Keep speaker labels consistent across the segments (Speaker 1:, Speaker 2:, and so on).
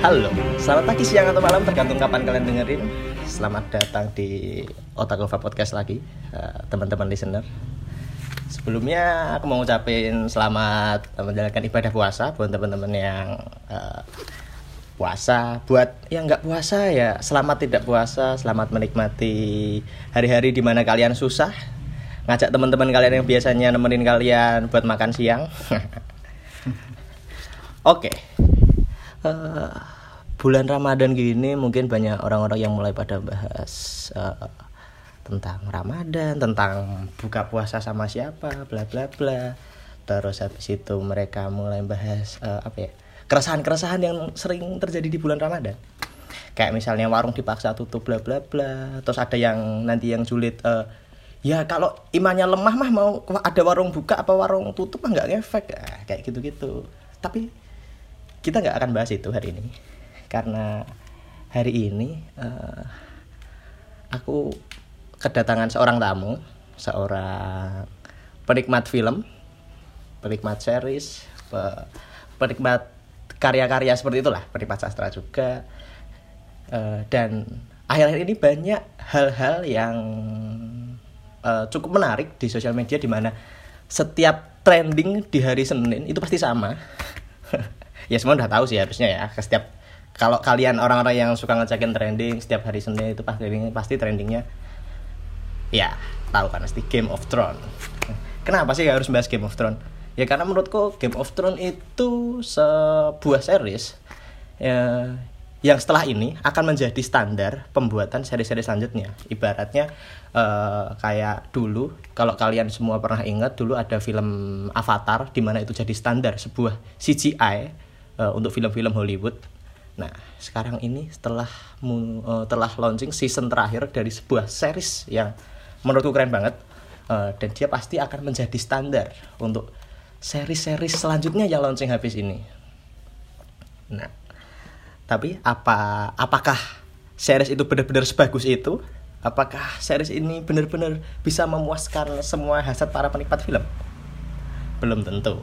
Speaker 1: Halo, selamat pagi, siang, atau malam tergantung kapan kalian dengerin. Selamat datang di Otakova Podcast lagi, eh, teman-teman listener. Sebelumnya aku mau ngucapin selamat menjalankan ibadah puasa buat teman-teman yang eh, puasa. Buat yang nggak puasa ya selamat tidak puasa, selamat menikmati hari-hari di mana kalian susah. Ngajak teman-teman kalian yang biasanya nemenin kalian buat makan siang. Oke. Eh, bulan Ramadan gini mungkin banyak orang-orang yang mulai pada bahas eh, tentang Ramadan, tentang buka puasa sama siapa, bla bla bla. Terus habis itu mereka mulai bahas eh, apa ya? keresahan-keresahan yang sering terjadi di bulan Ramadan. Kayak misalnya warung dipaksa tutup bla bla bla. Terus ada yang nanti yang julid eh, ya kalau imannya lemah mah mau ada warung buka apa warung tutup mah nggak ngefek Ah, kayak gitu-gitu. Tapi kita nggak akan bahas itu hari ini karena hari ini eh, aku kedatangan seorang tamu seorang penikmat film penikmat series pe- penikmat karya-karya seperti itulah penikmat sastra juga Eh, dan akhir-akhir ini banyak hal-hal yang eh, cukup menarik di sosial media di mana setiap trending di hari Senin itu pasti sama. ya semua udah tahu sih harusnya ya. Ke Setiap kalau kalian orang-orang yang suka ngecekin trending setiap hari Senin itu pasti pasti trendingnya ya tahu kan pasti Game of Thrones. Kenapa sih harus bahas Game of Thrones? Ya karena menurutku Game of Thrones itu sebuah series ya, yang setelah ini akan menjadi standar pembuatan seri-seri selanjutnya. Ibaratnya eh, kayak dulu kalau kalian semua pernah ingat dulu ada film Avatar di mana itu jadi standar sebuah CGI eh, untuk film-film Hollywood. Nah, sekarang ini setelah mu- eh, telah launching season terakhir dari sebuah series yang menurutku keren banget Eh, dan dia pasti akan menjadi standar untuk seri-seri selanjutnya yang launching habis ini. Nah, tapi apa apakah series itu benar-benar sebagus itu? Apakah series ini benar-benar bisa memuaskan semua hasrat para penikmat film? Belum tentu.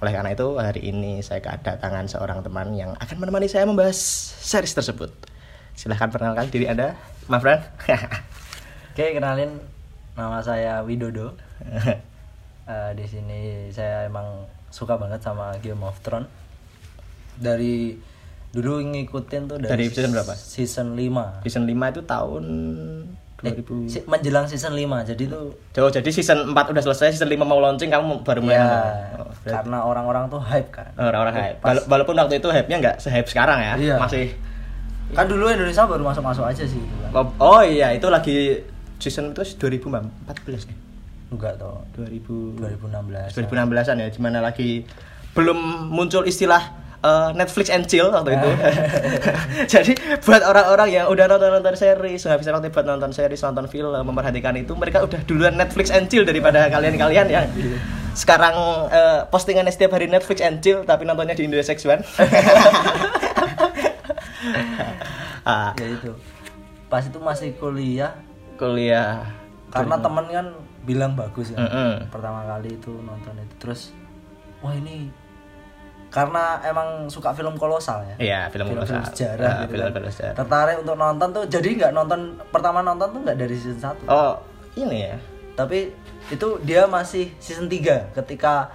Speaker 1: Oleh karena itu, hari ini saya kedatangan seorang teman yang akan menemani saya membahas series tersebut. Silahkan perkenalkan diri Anda, Mafran.
Speaker 2: Oke, kenalin nama saya Widodo. Eh, di sini saya emang suka banget sama Game of Thrones. Dari dulu ngikutin tuh
Speaker 1: Dari
Speaker 2: dari,
Speaker 1: season berapa?
Speaker 2: Season 5.
Speaker 1: season 5 itu tahun
Speaker 2: Eh,
Speaker 1: 2000.
Speaker 2: menjelang season 5. Jadi tuh
Speaker 1: Jauh, jadi season 4 udah selesai, season 5 mau launching, kamu baru mulai
Speaker 2: ya
Speaker 1: nonton. Oh, berarti-
Speaker 2: karena orang-orang tuh hype kan.
Speaker 1: Orang-orang hype. Wala- Walaupun waktu itu hype-nya nggak se-hype sekarang ya.
Speaker 2: Iya.
Speaker 1: Masih.
Speaker 2: Kan dulu Indonesia baru masuk-masuk aja sih gitu kan.
Speaker 1: Oh iya, itu lagi season itu 2014 nih.
Speaker 2: Enggak tuh.
Speaker 1: 2000
Speaker 2: 2016.
Speaker 1: 2016-an ya dimana lagi belum muncul istilah eh, Netflix and chill waktu itu jadi buat orang-orang yang udah nonton-nonton series nggak bisa waktu buat nonton series nonton film memperhatikan itu mereka udah duluan Netflix and chill daripada kalian-kalian yang
Speaker 2: Iya.
Speaker 1: sekarang eh, postingannya setiap hari Netflix and chill tapi nontonnya di Indonesia One Ah,
Speaker 2: Ya itu. Pas itu masih kuliah
Speaker 1: kuliah
Speaker 2: karena temen kan bilang bagus ya
Speaker 1: Mm-mm.
Speaker 2: pertama kali itu nonton itu terus wah ini karena emang suka film kolosal ya
Speaker 1: Iya, film
Speaker 2: film-film
Speaker 1: kolosal.
Speaker 2: sejarah
Speaker 1: Ah,
Speaker 2: gitu
Speaker 1: film-
Speaker 2: kan.
Speaker 1: film sejarah.
Speaker 2: tertarik untuk nonton tuh jadi nggak nonton pertama nonton tuh nggak dari season 1
Speaker 1: oh ini ya
Speaker 2: tapi itu dia masih season 3 ketika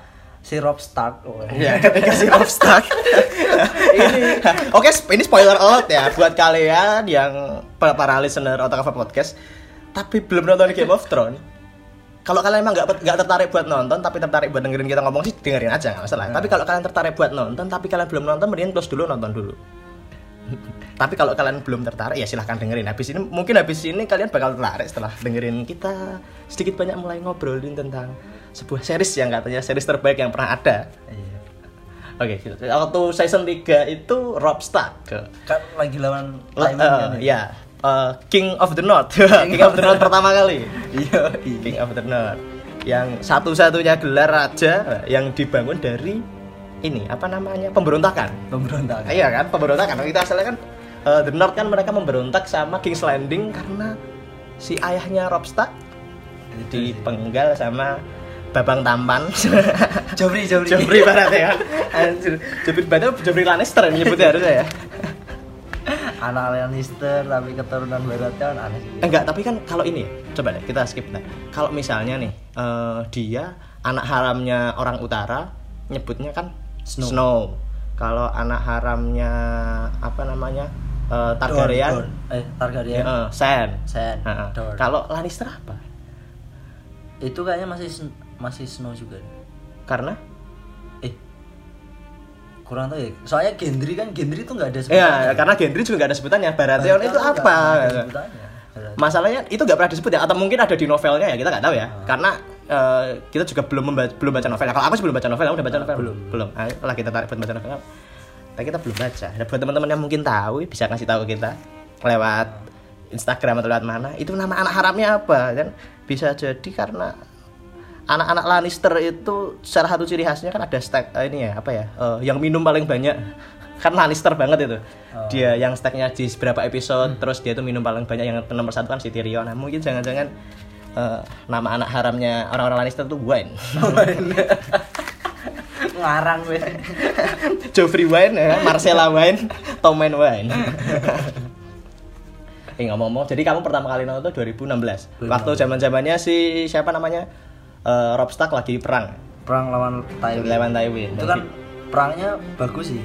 Speaker 2: si Rob Stark oh,
Speaker 1: Ya, ketika si Rob Stark. ini oke, sp- ini spoiler alert ya buat kalian yang para, para listener Otak Apa Podcast tapi belum nonton Game of Thrones. Kalau kalian emang nggak nggak tertarik buat nonton tapi tertarik buat dengerin kita ngomong sih dengerin aja nggak masalah. Tapi kalau kalian tertarik buat nonton tapi kalian belum nonton mendingan close dulu nonton dulu. tapi kalau kalian belum tertarik ya silahkan dengerin habis ini mungkin habis ini kalian bakal tertarik setelah dengerin kita sedikit banyak mulai ngobrolin tentang sebuah series yang katanya series terbaik yang pernah ada
Speaker 2: Iya.
Speaker 1: Oke, gitu. waktu season 3 itu Rob Stark. Ke,
Speaker 2: kan lagi lawan
Speaker 1: Le-
Speaker 2: Tywin
Speaker 1: eh,
Speaker 2: kan
Speaker 1: ya, eh, King of the North. King of the North pertama kali.
Speaker 2: iya iya.
Speaker 1: King of the North. Yang satu-satunya gelar raja yang dibangun dari ini apa namanya? pemberontakan.
Speaker 2: pemberontakan
Speaker 1: Iya kan, pemberontakan. Kita asalnya kan eh, the North kan mereka memberontak sama King's Landing karena si ayahnya Rob Stark Iya,
Speaker 2: Itu sih.
Speaker 1: dipenggal sama Babang Tampan.
Speaker 2: Jobri, Jobri.
Speaker 1: Jobri Barat ya kan. Anjir. Jobri Barat Jobri Lannister yang nyebutnya harusnya ya.
Speaker 2: Anak Lannister tapi keturunan barat kan aneh sih.
Speaker 1: Eh, Enggak, tapi kan kalau ini coba deh kita skip deh. Kalau misalnya nih eh, dia anak haramnya orang utara nyebutnya kan
Speaker 2: Snow.
Speaker 1: Snow. Kalau anak haramnya apa namanya? eh,
Speaker 2: Dorn,
Speaker 1: Targaryen.
Speaker 2: Dorn. Eh, Targaryen.
Speaker 1: eh, Sen.
Speaker 2: Sen.
Speaker 1: Heeh.
Speaker 2: Dorn.
Speaker 1: Kalau Lannister apa?
Speaker 2: Itu kayaknya masih sn- masih snow juga.
Speaker 1: Karena
Speaker 2: Eh. Kurang tahu ya. Soalnya Gendry kan Gendry tuh nggak ada
Speaker 1: Ya, karena Gendry juga gak ada sebutannya. Baratheon
Speaker 2: Barat
Speaker 1: itu
Speaker 2: kan nggak
Speaker 1: apa?
Speaker 2: ada sebutannya. Barat.
Speaker 1: Masalahnya itu nggak pernah disebut ya, atau mungkin ada di novelnya ya kita nggak tahu ya, karena eh, kita juga belum memba- belum baca novel. Kalau aku sih belum baca novel, kamu udah baca novel
Speaker 2: belum.
Speaker 1: Belum. Ayo lah kita tarik buat baca novel. Tapi kita belum baca. Nah, buat teman-teman yang mungkin tahu bisa ngasih tahu ke kita lewat Instagram atau lewat mana. Itu nama anak haramnya apa? Dan bisa jadi karena anak-anak Lannister itu salah satu ciri khasnya kan ada stack eh, ini ya apa ya eh, yang minum paling banyak kan Lannister banget itu dia yang stacknya di beberapa episode terus dia tuh minum paling banyak yang nomor satu kan si Tyrion nah, mungkin jangan-jangan eh, nama anak haramnya orang-orang Lannister tuh wine
Speaker 2: Ngarang gue.
Speaker 1: Joffrey wine ya Marcella wine Tommen wine Eh ngomong-ngomong, jadi kamu pertama kali nonton tuh 2016. Waktu
Speaker 2: 2016.
Speaker 1: zaman-zamannya si siapa namanya? Eh, Robb Stark lagi perang
Speaker 2: Perang lawan Tywin.
Speaker 1: lawan Tywin.
Speaker 2: Itu kan perangnya bagus sih.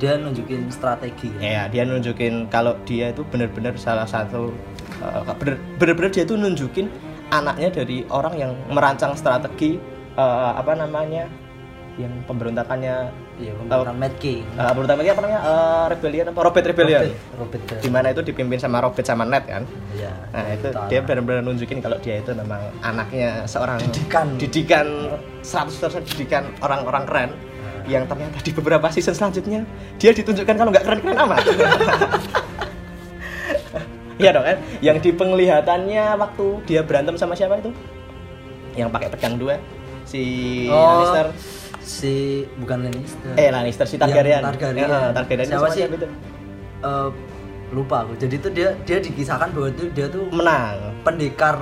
Speaker 2: Dia nunjukin strategi.
Speaker 1: ya dia nunjukin kalau dia itu bener-bener salah satu uh, bener- bener-bener dia itu nunjukin anaknya dari orang yang merancang strategi uh, apa namanya yang pemberontakannya
Speaker 2: Iya, pemerintahan Mad King.
Speaker 1: uh, pemberontakan apa namanya Uh, rebellion apa Robert ya? rebellion
Speaker 2: Robert.
Speaker 1: di mana itu dipimpin sama Robert sama Ned kan
Speaker 2: Iya.
Speaker 1: nah itu dia benar-benar nunjukin kalau dia itu memang anaknya seorang
Speaker 2: Didikan.
Speaker 1: didikan 100% didikan orang-orang keren
Speaker 2: Nah.
Speaker 1: yang ternyata di beberapa season selanjutnya dia ditunjukkan kalau nggak keren-keren amat Iya dong kan? Yang di penglihatannya waktu dia berantem sama siapa itu? Yang pakai pedang dua si
Speaker 2: Oh,
Speaker 1: Lannister.
Speaker 2: si bukan Lannister.
Speaker 1: Eh Lannister si Targaryen.
Speaker 2: Yang Targaryen.
Speaker 1: Eh, eh, Targaryen itu
Speaker 2: Siapa
Speaker 1: sama
Speaker 2: sih?
Speaker 1: siapa itu?
Speaker 2: Eh, lupa aku. Jadi itu dia dia dikisahkan bahwa itu dia tuh
Speaker 1: Menang.
Speaker 2: pendekar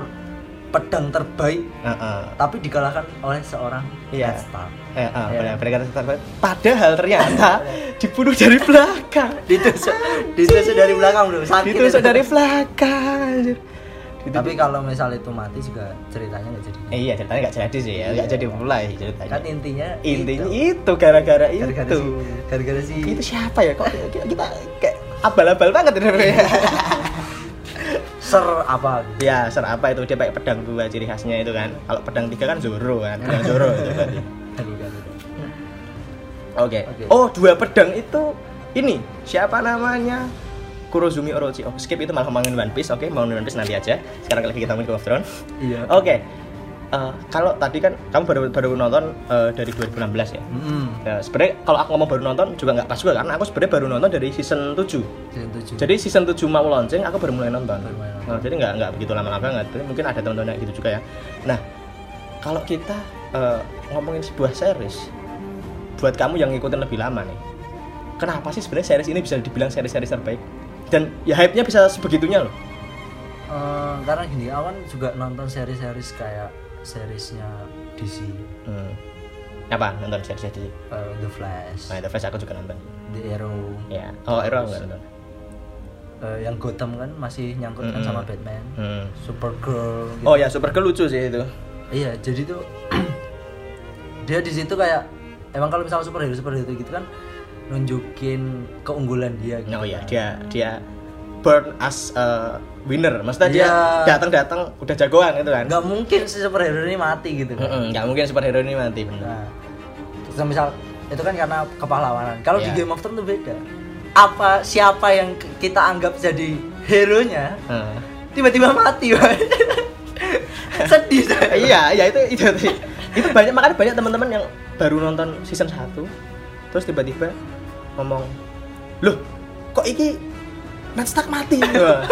Speaker 2: pedang terbaik
Speaker 1: Heeh.
Speaker 2: tapi dikalahkan oleh seorang
Speaker 1: Iya.
Speaker 2: Ned Stark.
Speaker 1: Eh, ah, benar, pendekatan Stark. Padahal ternyata dibunuh dari belakang.
Speaker 2: Ditusuk, ditusuk dari belakang belum sakit.
Speaker 1: Ditusuk
Speaker 2: itu.
Speaker 1: dari belakang. anjir. Ditusuk-
Speaker 2: Tapi kalau misal itu mati juga ceritanya nggak jadi.
Speaker 1: Eh, iya, ceritanya nggak jadi sih ya, nggak jadi mulai ceritanya.
Speaker 2: Kan intinya
Speaker 1: Eh. Intinya itu gara-gara itu.
Speaker 2: gara-gara si gara-gara si
Speaker 1: Itu siapa ya kok kita kita kayak abal-abal banget ya.
Speaker 2: ser apa gitu.
Speaker 1: ya, ser apa itu dia pakai pedang dua ciri khasnya itu kan. Kalau pedang tiga kan Zoro kan, pedang Zoro itu berarti.
Speaker 2: Gara-gara.
Speaker 1: Oke.
Speaker 2: Oke.
Speaker 1: Oh, dua pedang itu ini siapa namanya? Kurozumi Orochi. Oh, skip itu malah ngomongin One Piece. Oke, mau ngomongin One Piece nanti aja. Sekarang lagi kita ngomongin Game of Thrones.
Speaker 2: Iya.
Speaker 1: Oke. Eh, kalau tadi kan kamu baru baru nonton eh, dari 2016 ya.
Speaker 2: Mm-mm.
Speaker 1: Ya, sebenarnya kalau aku ngomong baru nonton juga nggak pas juga karena aku sebenarnya baru nonton dari season 7.
Speaker 2: Season tujuh.
Speaker 1: Jadi season 7 mau launching aku baru mulai nonton.
Speaker 2: Baru mulai nonton.
Speaker 1: Nah, jadi nggak nggak begitu lama banget. Jadi mungkin ada teman-teman yang gitu juga ya. Nah, kalau kita eh, ngomongin sebuah series buat kamu yang ngikutin lebih lama nih. Kenapa sih sebenarnya series ini bisa dibilang series-series terbaik? Dan ya hype-nya bisa sebegitunya loh.
Speaker 2: Eh, karena gini, awan juga nonton seri-series kayak seriesnya DC,
Speaker 1: Hmm. Apa? Nonton series di
Speaker 2: eh, The Flash,
Speaker 1: Nah, The Flash aku juga nonton.
Speaker 2: The Arrow,
Speaker 1: Ya. Oh, Arrow nggak nonton.
Speaker 2: eh, yang Gotham kan masih nyangkut kan sama Batman,
Speaker 1: Hmm.
Speaker 2: Supergirl. gitu.
Speaker 1: Oh ya, Supergirl lucu sih itu.
Speaker 2: Iya, jadi tuh dia di situ kayak emang kalau misalnya superhero superhero gitu kan nunjukin keunggulan dia. Gitu.
Speaker 1: Oh ya, dia dia burn as a winner. Maksudnya dia
Speaker 2: Iya.
Speaker 1: datang-datang udah jagoan gitu kan.
Speaker 2: Gak mungkin si superhero ini mati gitu. kan.
Speaker 1: Mm-mm, nggak mungkin superhero ini mati bener.
Speaker 2: Nah, terus misal itu kan karena kepahlawanan. Kalau di
Speaker 1: Iya.
Speaker 2: Game of Thrones tuh beda. Apa siapa yang k- kita anggap jadi hero nya
Speaker 1: Heeh.
Speaker 2: tiba-tiba mati, Pak. Sedih saya.
Speaker 1: iya, iya itu itu itu. Itu banyak makanya banyak teman-teman yang baru nonton season 1 terus tiba-tiba ngomong, "Loh, kok iki Ned Stark mati?" Wah,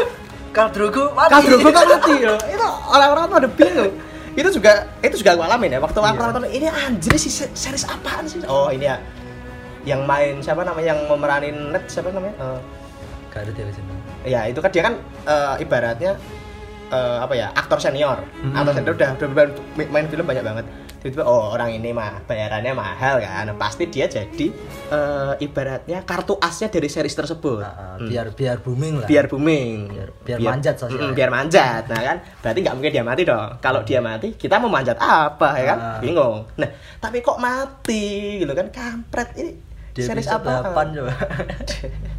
Speaker 2: Khal Drogo mati.
Speaker 1: Khal Drogo kan? kok mati loh. Itu orang-orang tuh ada bingung. Itu juga itu juga aku alamin ya waktu aku
Speaker 2: Iya.
Speaker 1: nonton ini anjir sih se- series apaan sih? Oh, ini ya yang main siapa namanya yang memeranin Ned siapa namanya? Eh,
Speaker 2: Garut ya sini.
Speaker 1: ya itu kan dia kan eh, ibaratnya eh, apa ya aktor senior
Speaker 2: Hmm.
Speaker 1: aktor senior udah, udah main, main film banyak banget tiba-tiba oh orang ini mah bayarannya mahal kan pasti dia jadi eh, ibaratnya kartu asnya dari series tersebut Hmm.
Speaker 2: Ah, ah, biar biar booming lah
Speaker 1: biar booming
Speaker 2: Biar- biar manjat
Speaker 1: Mm,
Speaker 2: sosialnya.
Speaker 1: biar manjat nah kan berarti nggak mungkin dia mati dong kalau dia mati kita mau manjat apa ya kan
Speaker 2: Ah.
Speaker 1: bingung nah tapi kok mati gitu kan kampret ini
Speaker 2: dia
Speaker 1: series
Speaker 2: episode
Speaker 1: apa
Speaker 2: 8 coba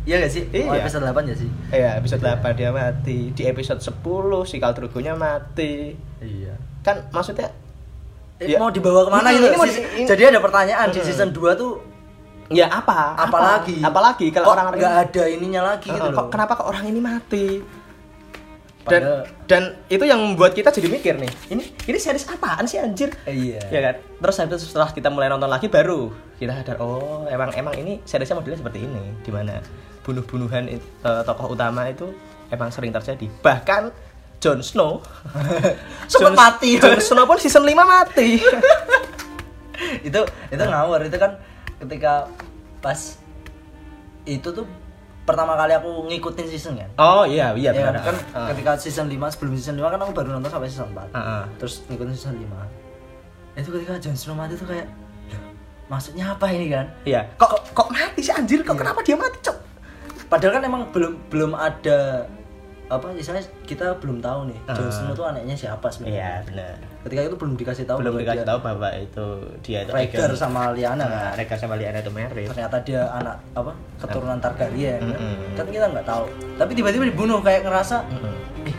Speaker 2: iya gak sih Oh,
Speaker 1: Iya.
Speaker 2: episode 8 ya sih
Speaker 1: Iya, episode 8 dia mati. Di episode 10 si Kaldrugonya mati.
Speaker 2: iya
Speaker 1: Kan maksudnya
Speaker 2: Eh,
Speaker 1: Ya.
Speaker 2: mau dibawa kemana
Speaker 1: Hmm,
Speaker 2: gitu
Speaker 1: ini mau
Speaker 2: Sis-
Speaker 1: di- ini-
Speaker 2: jadi ada pertanyaan di season 2 tuh
Speaker 1: ya apa? Apa?
Speaker 2: apalagi
Speaker 1: Apalagi kalau
Speaker 2: Kok
Speaker 1: orang
Speaker 2: nggak ada ininya lagi
Speaker 1: Heeh,
Speaker 2: gitu
Speaker 1: kok-
Speaker 2: loh
Speaker 1: kenapa kok orang ini mati? Dan
Speaker 2: Padahal-
Speaker 1: dan itu yang membuat kita jadi mikir nih. Ini ini series apaan sih anjir?
Speaker 2: iya
Speaker 1: Ya kan? Terus habis itu setelah kita mulai nonton lagi baru kita sadar oh emang emang ini seriesnya modelnya seperti ini di mana bunuh-bunuhan eh, tokoh utama itu emang sering terjadi. Bahkan Jon Snow
Speaker 2: Sempet mati.
Speaker 1: Jon Snow pun season 5 mati.
Speaker 2: itu itu
Speaker 1: Nah.
Speaker 2: ngawur itu kan ketika pas itu tuh pertama kali aku ngikutin season kan
Speaker 1: oh iya iya
Speaker 2: Ya
Speaker 1: benar.
Speaker 2: kan, kan ketika season 5 sebelum season 5 kan aku baru nonton sampai season 4
Speaker 1: Heeh.
Speaker 2: terus ngikutin season 5 itu ketika Jon Snow mati tuh kayak "Loh, maksudnya apa ini kan
Speaker 1: Iya. Kok kok- kok mati sih anjir? Kok kenapa dia mati, Cok?
Speaker 2: padahal kan emang belum belum ada apa misalnya kita belum tahu nih
Speaker 1: Ah.
Speaker 2: Jon Snow tuh anaknya siapa sebenarnya
Speaker 1: Iya, benar.
Speaker 2: ketika itu belum dikasih tahu
Speaker 1: Belum
Speaker 2: bahwa
Speaker 1: dikasih
Speaker 2: dia
Speaker 1: tahu bahwa itu dia itu
Speaker 2: Rhaegar sama Lyanna kan
Speaker 1: Nah, Rhaegar sama Lyanna itu married.
Speaker 2: ternyata dia anak apa keturunan Targaryen kan?
Speaker 1: Mm-mm.
Speaker 2: kan kita nggak tahu tapi tiba-tiba dibunuh kayak ngerasa eh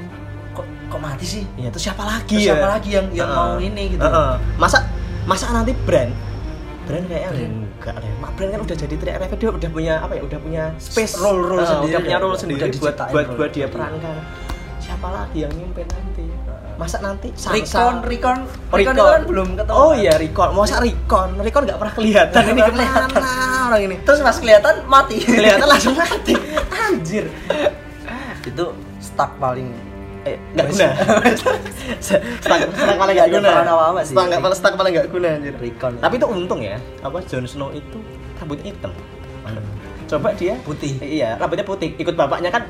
Speaker 2: kok kok mati sih
Speaker 1: Iya, terus siapa lagi
Speaker 2: Terus
Speaker 1: ya?
Speaker 2: siapa lagi yang yang
Speaker 1: Heeh.
Speaker 2: mau ini gitu
Speaker 1: Heeh. Masa masa nanti brand brand kayaknya
Speaker 2: Brand.
Speaker 1: enggak deh. Mak brand kan udah jadi teriak teriak dia udah punya apa ya? Udah punya space
Speaker 2: Role- role
Speaker 1: Heeh,
Speaker 2: sendiri ya?
Speaker 1: Udah punya
Speaker 2: udah-
Speaker 1: role
Speaker 2: udah
Speaker 1: sendiri buat
Speaker 2: diciptain
Speaker 1: buat
Speaker 2: role. Iya.
Speaker 1: buat dia perankan. Siapa lagi yang nyimpin nanti? Masa nanti Sansa-
Speaker 2: Recon, Recon,
Speaker 1: Oh,
Speaker 2: Recon itu kan belum ketemu.
Speaker 1: Oh iya Recon, masa Recon? Recon nggak pernah kelihatan ini
Speaker 2: Nggak pernah
Speaker 1: kemana orang ini?
Speaker 2: Terus pas kelihatan mati.
Speaker 1: kelihatan langsung mati anjir
Speaker 2: itu stuck paling
Speaker 1: eh nggak guna stuck stuck paling nggak
Speaker 2: Nggak
Speaker 1: guna
Speaker 2: ada peran apa-apa sih.
Speaker 1: stuck nggak stuck paling nggak guna anjir
Speaker 2: Recon.
Speaker 1: tapi itu untung ya apa Jon Snow itu rambutnya hitam Hmm. coba dia
Speaker 2: Putih.
Speaker 1: iya rambutnya putih ikut bapaknya kan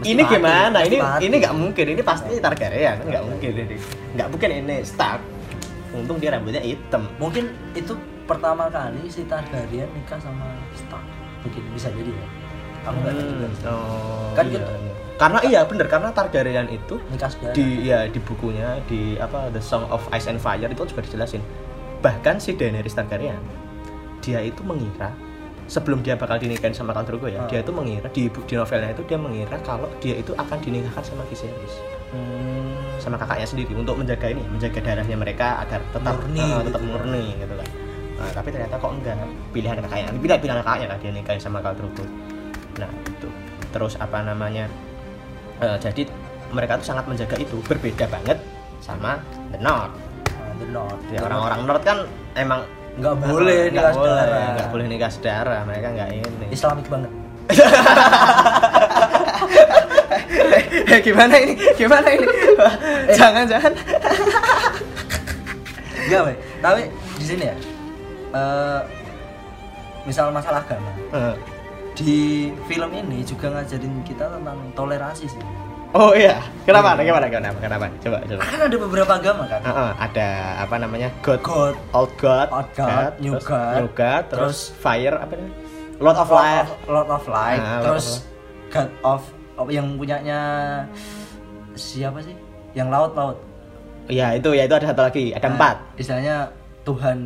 Speaker 2: Mesti
Speaker 1: ini
Speaker 2: mati,
Speaker 1: gimana
Speaker 2: mesti
Speaker 1: ini
Speaker 2: mati.
Speaker 1: ini nggak mungkin ini pasti Targaryen nggak mungkin ini nggak mungkin ini Stark untung dia rambutnya hitam
Speaker 2: mungkin itu pertama kali si Targaryen nikah sama Stark. Mungkin bisa jadi ya. Aku nggak tahu juga.
Speaker 1: oh,
Speaker 2: Kan
Speaker 1: iya.
Speaker 2: gitu.
Speaker 1: karena iya bener karena Targaryen itu
Speaker 2: Nikah saudara.
Speaker 1: di ya di bukunya di apa The Song of Ice and Fire itu juga dijelasin bahkan si Daenerys Targaryen dia itu mengira sebelum dia bakal dinikahin sama Khal Drogo ya
Speaker 2: Ah.
Speaker 1: dia itu mengira di bu- di novelnya itu dia mengira kalau dia itu akan dinikahkan sama Viserys
Speaker 2: Hmm,
Speaker 1: sama kakaknya sendiri untuk menjaga ini menjaga darahnya mereka agar tetap
Speaker 2: Murni,
Speaker 1: eh,
Speaker 2: gitu.
Speaker 1: tetap murni gitu kan Nah, tapi ternyata kok enggak pilihan kakaknya pilihan pilihan kakaknya kan dia nikahin sama Khal Drogo nah itu terus apa namanya eh, jadi mereka tuh sangat menjaga itu berbeda banget sama the North
Speaker 2: ah, the North.
Speaker 1: Ya, orang-orang North kan emang
Speaker 2: nggak boleh
Speaker 1: nggak
Speaker 2: nikah
Speaker 1: boleh,
Speaker 2: saudara.
Speaker 1: nggak boleh nikah saudara mereka nggak ini
Speaker 2: Islamik banget.
Speaker 1: Eh, gimana ini gimana ini Eh.
Speaker 2: Eh,
Speaker 1: jangan-jangan
Speaker 2: Iya, Wei. Tapi di sini ya. eh, misal masalah agama.
Speaker 1: Eh,
Speaker 2: Di film ini juga ngajarin kita tentang toleransi sih.
Speaker 1: oh iya kenapa kenapa kenapa kenapa coba coba
Speaker 2: Kan ada beberapa agama kan.
Speaker 1: Heeh, ada apa namanya God,
Speaker 2: God,
Speaker 1: Old God,
Speaker 2: Old God, New
Speaker 1: terus
Speaker 2: God,
Speaker 1: New God, terus, Fire apa namanya Lord of
Speaker 2: Lord
Speaker 1: Light,
Speaker 2: of- Lord of Light,
Speaker 1: Ah, Lord
Speaker 2: terus
Speaker 1: of
Speaker 2: God of apa yang punyanya siapa sih? Yang laut laut.
Speaker 1: ya itu ya itu ada satu lagi
Speaker 2: Eh.
Speaker 1: ada empat
Speaker 2: Istilahnya Tuhan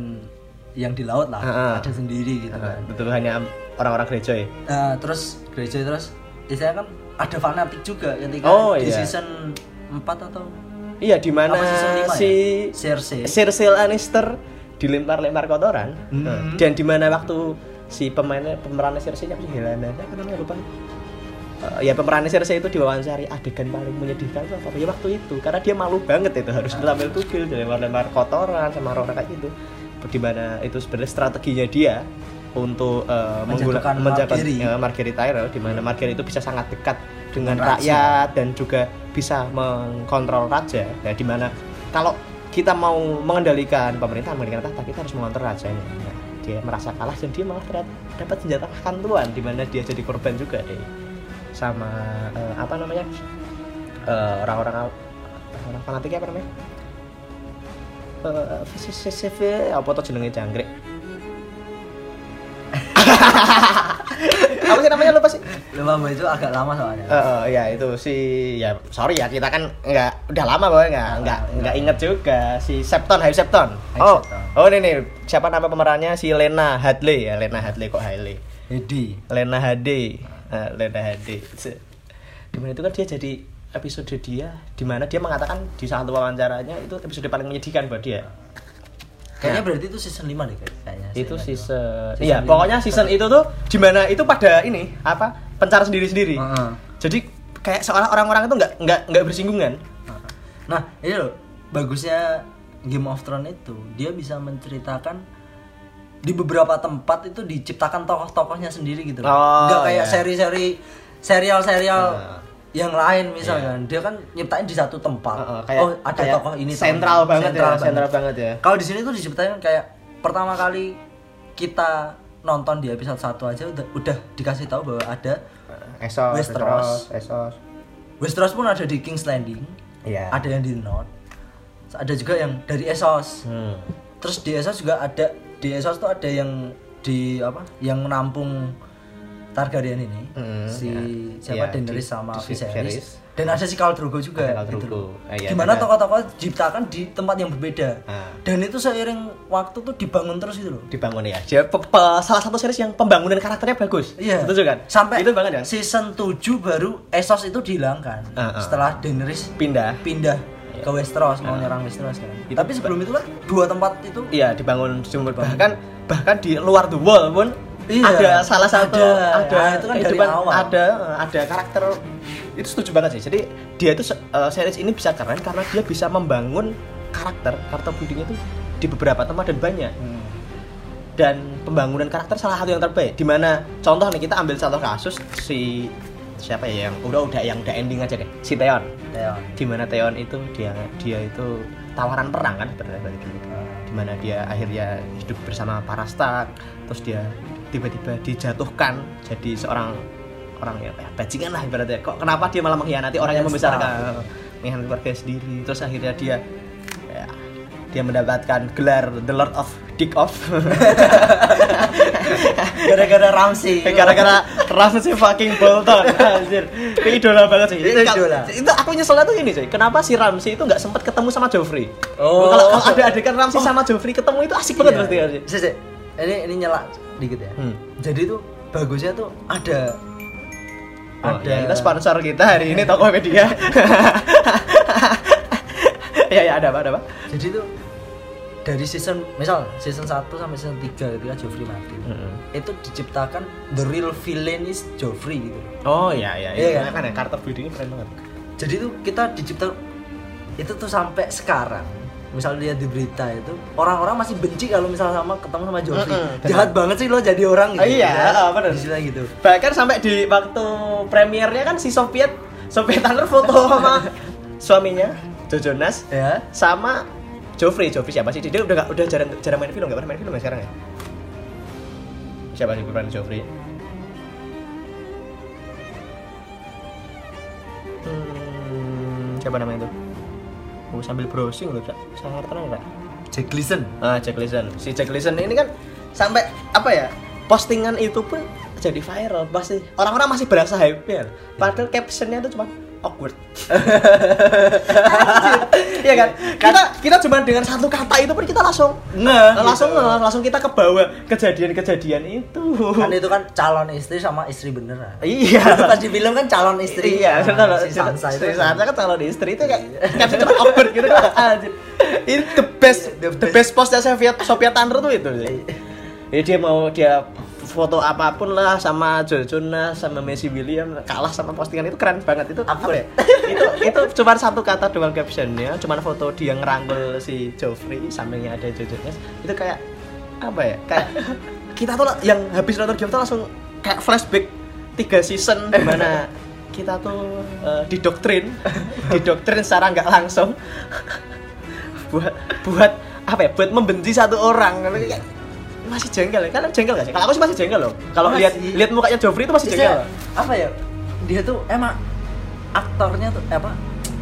Speaker 2: yang di laut lah,
Speaker 1: Ah, ah.
Speaker 2: ada sendiri gitu kan.
Speaker 1: itu hanya orang-orang gereja ya
Speaker 2: Nah, terus gereja terus istilahnya kan ada fanatik juga ketika
Speaker 1: Oh, iya.
Speaker 2: di season 4 atau
Speaker 1: Iya di mana
Speaker 2: Apa season lima
Speaker 1: si
Speaker 2: ya? Cersei.
Speaker 1: Cersei Lannister dilempar-lempar kotoran
Speaker 2: Hmm.
Speaker 1: dan di mana waktu si pemainnya pemerannya Cersei apa sih Helena apa namanya lupa Eh, ya pemerannya Cersei itu diwawancari adegan paling menyedihkan itu apa ya waktu itu karena dia malu banget itu harus
Speaker 2: Ah.
Speaker 1: diambil tukil dilempar-lempar kotoran sama orang-orang kayak gitu di mana itu sebenarnya strateginya dia untuk eh, menggunakan
Speaker 2: Menjatuhkan
Speaker 1: menjaga
Speaker 2: Margery.
Speaker 1: eh, Margery Tyrell di mana Margery itu bisa sangat dekat dengan
Speaker 2: Dengan raja.
Speaker 1: rakyat rakyat dan juga bisa mengkontrol raja ya di mana kalau kita mau mengendalikan pemerintahan mengendalikan tahta kita harus mengontrol rajanya Nah, dia merasa kalah dan dia malah ternyata dapat senjata makan tuan di mana dia jadi korban juga deh sama eh, apa namanya Eh, orang-orang orang-orang fanatik apa namanya eh, apa sih, sih, sih, sih, apa tuh jenenge jangkrik? apa sih namanya lupa sih?
Speaker 2: Lumba itu agak lama soalnya.
Speaker 1: Eh, eh, ya itu si ya sorry ya kita kan nggak udah lama bahwa nggak nggak nggak inget juga si Septon Hai Septon.
Speaker 2: Hype
Speaker 1: Oh
Speaker 2: Septon.
Speaker 1: oh ini nih siapa nama pemerannya si Lena Hadley ya Lena Hadley kok Hadley
Speaker 2: Hedi.
Speaker 1: Lena HD Eh, Lena HD dimana itu kan dia jadi episode dia dimana dia mengatakan di satu wawancaranya itu episode paling menyedihkan buat dia
Speaker 2: Kayaknya
Speaker 1: Ya.
Speaker 2: berarti itu season 5 deh kayaknya.
Speaker 1: itu season,
Speaker 2: season. Ya, Season
Speaker 1: iya
Speaker 2: lima.
Speaker 1: pokoknya season itu tuh dimana itu pada ini apa pencar sendiri sendiri
Speaker 2: Heeh.
Speaker 1: jadi kayak seolah orang-orang itu nggak nggak nggak bersinggungan
Speaker 2: Nah, ini loh bagusnya Game of Thrones itu dia bisa menceritakan di beberapa tempat itu diciptakan tokoh-tokohnya sendiri gitu loh.
Speaker 1: Oh,
Speaker 2: Nggak kayak
Speaker 1: iya.
Speaker 2: seri-seri serial-serial
Speaker 1: Ah.
Speaker 2: yang lain misalnya. Dia kan nyiptain di satu tempat.
Speaker 1: Iya. Heeh, kayak-
Speaker 2: oh, ada
Speaker 1: kayak
Speaker 2: tokoh ini tokoh
Speaker 1: sentral
Speaker 2: ini.
Speaker 1: banget ya, sentral banget ya.
Speaker 2: Kalau di sini tuh diciptain kayak pertama kali kita nonton di episode 1 aja udah udah dikasih tahu bahwa ada
Speaker 1: Eh, esos
Speaker 2: Westeros.
Speaker 1: esos
Speaker 2: Westeros pun ada di King's Landing.
Speaker 1: Iya.
Speaker 2: Ada yang di North. Ada juga yang dari Essos.
Speaker 1: hmm.
Speaker 2: Terus di Essos juga ada di Essos tuh ada yang di apa? Yang menampung Targaryen ini.
Speaker 1: Hmm,
Speaker 2: si
Speaker 1: ya. Ya,
Speaker 2: siapa Daenerys
Speaker 1: di-
Speaker 2: sama
Speaker 1: di- Viserys.
Speaker 2: Viserys. Dan ada si Khal Drogo juga
Speaker 1: Ada Khal
Speaker 2: gitu
Speaker 1: Drogo.
Speaker 2: loh.
Speaker 1: Ah, iya,
Speaker 2: Gimana
Speaker 1: ada.
Speaker 2: tokoh-tokoh diciptakan di tempat yang berbeda.
Speaker 1: Ah.
Speaker 2: Dan itu seiring waktu tuh dibangun terus gitu loh.
Speaker 1: dibangun ya dia pe- pe- salah satu series yang pembangunan karakternya bagus
Speaker 2: Iya.
Speaker 1: Setuju kan
Speaker 2: Sampai
Speaker 1: itu banget ya
Speaker 2: season 7 baru Essos itu dihilangkan.
Speaker 1: Ah, ah.
Speaker 2: Setelah Daenerys
Speaker 1: pindah
Speaker 2: pindah ke Westeros mau nyerang Westeros kan.
Speaker 1: Iya. Nah. Itu-
Speaker 2: Tapi sebelum itu kan dua tempat itu
Speaker 1: Iya dibangun sumber bahkan bahkan di luar the wall pun
Speaker 2: Iya.
Speaker 1: ada salah satu
Speaker 2: Ada.
Speaker 1: ada
Speaker 2: Ah, itu kan dari
Speaker 1: kehidupan,
Speaker 2: awal.
Speaker 1: ada ada karakter itu setuju banget sih jadi dia itu se- eh, series ini bisa keren karena dia bisa membangun karakter karakter buildingnya itu di beberapa tempat dan banyak dan pembangunan karakter salah satu yang terbaik dimana contoh nih kita ambil contoh kasus si siapa ya yang udah udah yang udah ending aja deh si Theon
Speaker 2: Theon.
Speaker 1: dimana Theon itu dia dia itu tawaran perang kan sebenarnya balik dulu dimana dia akhirnya hidup bersama Parastak terus dia tiba-tiba dijatuhkan jadi seorang orang yang ya, bajingan lah ibaratnya kok kenapa dia malah mengkhianati orang yang
Speaker 2: Menyesal.
Speaker 1: membesarkan mengkhianati keluarga sendiri terus akhirnya dia ya, dia mendapatkan gelar The Lord of Dick Off
Speaker 2: Gara-gara Ramsey.
Speaker 1: Eh, gara-gara Ramsey fucking Bolton anjir itu idola banget sih
Speaker 2: Itu idola.
Speaker 1: itu aku nyeselnya tuh ini sih kenapa si Ramsey itu nggak sempet ketemu sama Joffrey
Speaker 2: Oh.
Speaker 1: kalau kalau ada adegan Ramsey sama Joffrey ketemu itu asik banget berarti
Speaker 2: Iya.
Speaker 1: kan sih
Speaker 2: Sih, sih. Ini ini nyela dikit ya.
Speaker 1: Hmm.
Speaker 2: Jadi tuh bagusnya tuh ada
Speaker 1: Oh,
Speaker 2: ada
Speaker 1: ya, kita sponsor kita hari ini Tokopedia. ya ya ada apa ada apa?
Speaker 2: Jadi tuh dari season misal season 1 sampai season 3 ketika Joffrey mati.
Speaker 1: Hmm.
Speaker 2: Itu diciptakan the real villain is Joffrey gitu.
Speaker 1: Oh ya ya
Speaker 2: Iya,
Speaker 1: iya
Speaker 2: kan?
Speaker 1: kan ya Carter building keren banget.
Speaker 2: jadi tuh kita dicipta itu tuh sampai sekarang misalnya dia di berita itu orang-orang masih benci kalau misalnya sama ketemu sama Joffrey
Speaker 1: Mm-mm, benar.
Speaker 2: jahat banget sih lo jadi orang
Speaker 1: Oh,
Speaker 2: gitu
Speaker 1: iya,
Speaker 2: Misalnya,
Speaker 1: ah, benar.
Speaker 2: misalnya gitu
Speaker 1: Bahkan sampai di waktu premiernya kan si Soviet Soviet Tanner foto sama suaminya Joe Jonas
Speaker 2: ya
Speaker 1: sama Joffrey Joffrey siapa sih dia udah gak, udah jarang jarang main film nggak pernah main film ya sekarang ya siapa sih peran Joffrey hmm, siapa namanya itu Oh, sambil browsing loh, Cak. Sangat tenang, Cak.
Speaker 2: Jack Gleason
Speaker 1: Ah, Jack Leeson. Si Jack Leeson ini kan sampai apa ya? Postingan itu pun jadi viral pasti. Orang-orang masih berasa hype ya. Padahal captionnya itu cuma awkward. Anjir. Iya kan? Kita kita cuma dengan satu kata itu pun kita langsung
Speaker 2: nah
Speaker 1: langsung langsung kita ke bawah kejadian-kejadian itu.
Speaker 2: kan itu kan calon istri sama istri beneran itu
Speaker 1: Iya.
Speaker 2: kan di film kan calon istri
Speaker 1: Iya,
Speaker 2: Nah,
Speaker 1: benar.
Speaker 2: si Sansa itu Iya.
Speaker 1: istri Sansa kan calon istri itu kayak caption cuma awkward gitu. Anjir. Ini the best
Speaker 2: Ah, The
Speaker 1: the, best
Speaker 2: best.
Speaker 1: postnya Sophia Sophia Tanner tuh itu. Jadi dia mau dia foto apapun lah sama Joe Jonas sama Messi William kalah sama postingan itu keren banget itu
Speaker 2: Apa?
Speaker 1: ya? itu itu cuma satu kata doang captionnya cuma foto dia ngerangkul si Joffrey sampingnya ada Joe Jonas itu kayak apa ya kayak kita tuh yang habis nonton game tuh langsung kayak flashback tiga season di mana kita tuh eh, didoktrin didoktrin secara nggak langsung buat buat apa ya buat membenci satu orang Karena kayak masih jengkel ya kalian jengkel gak sih kalau aku sih masih jengkel loh kalau
Speaker 2: Masih.
Speaker 1: lihat lihat mukanya Joffrey itu masih
Speaker 2: Terus
Speaker 1: jengkel
Speaker 2: ya, apa ya dia tuh emang aktornya tuh eh, apa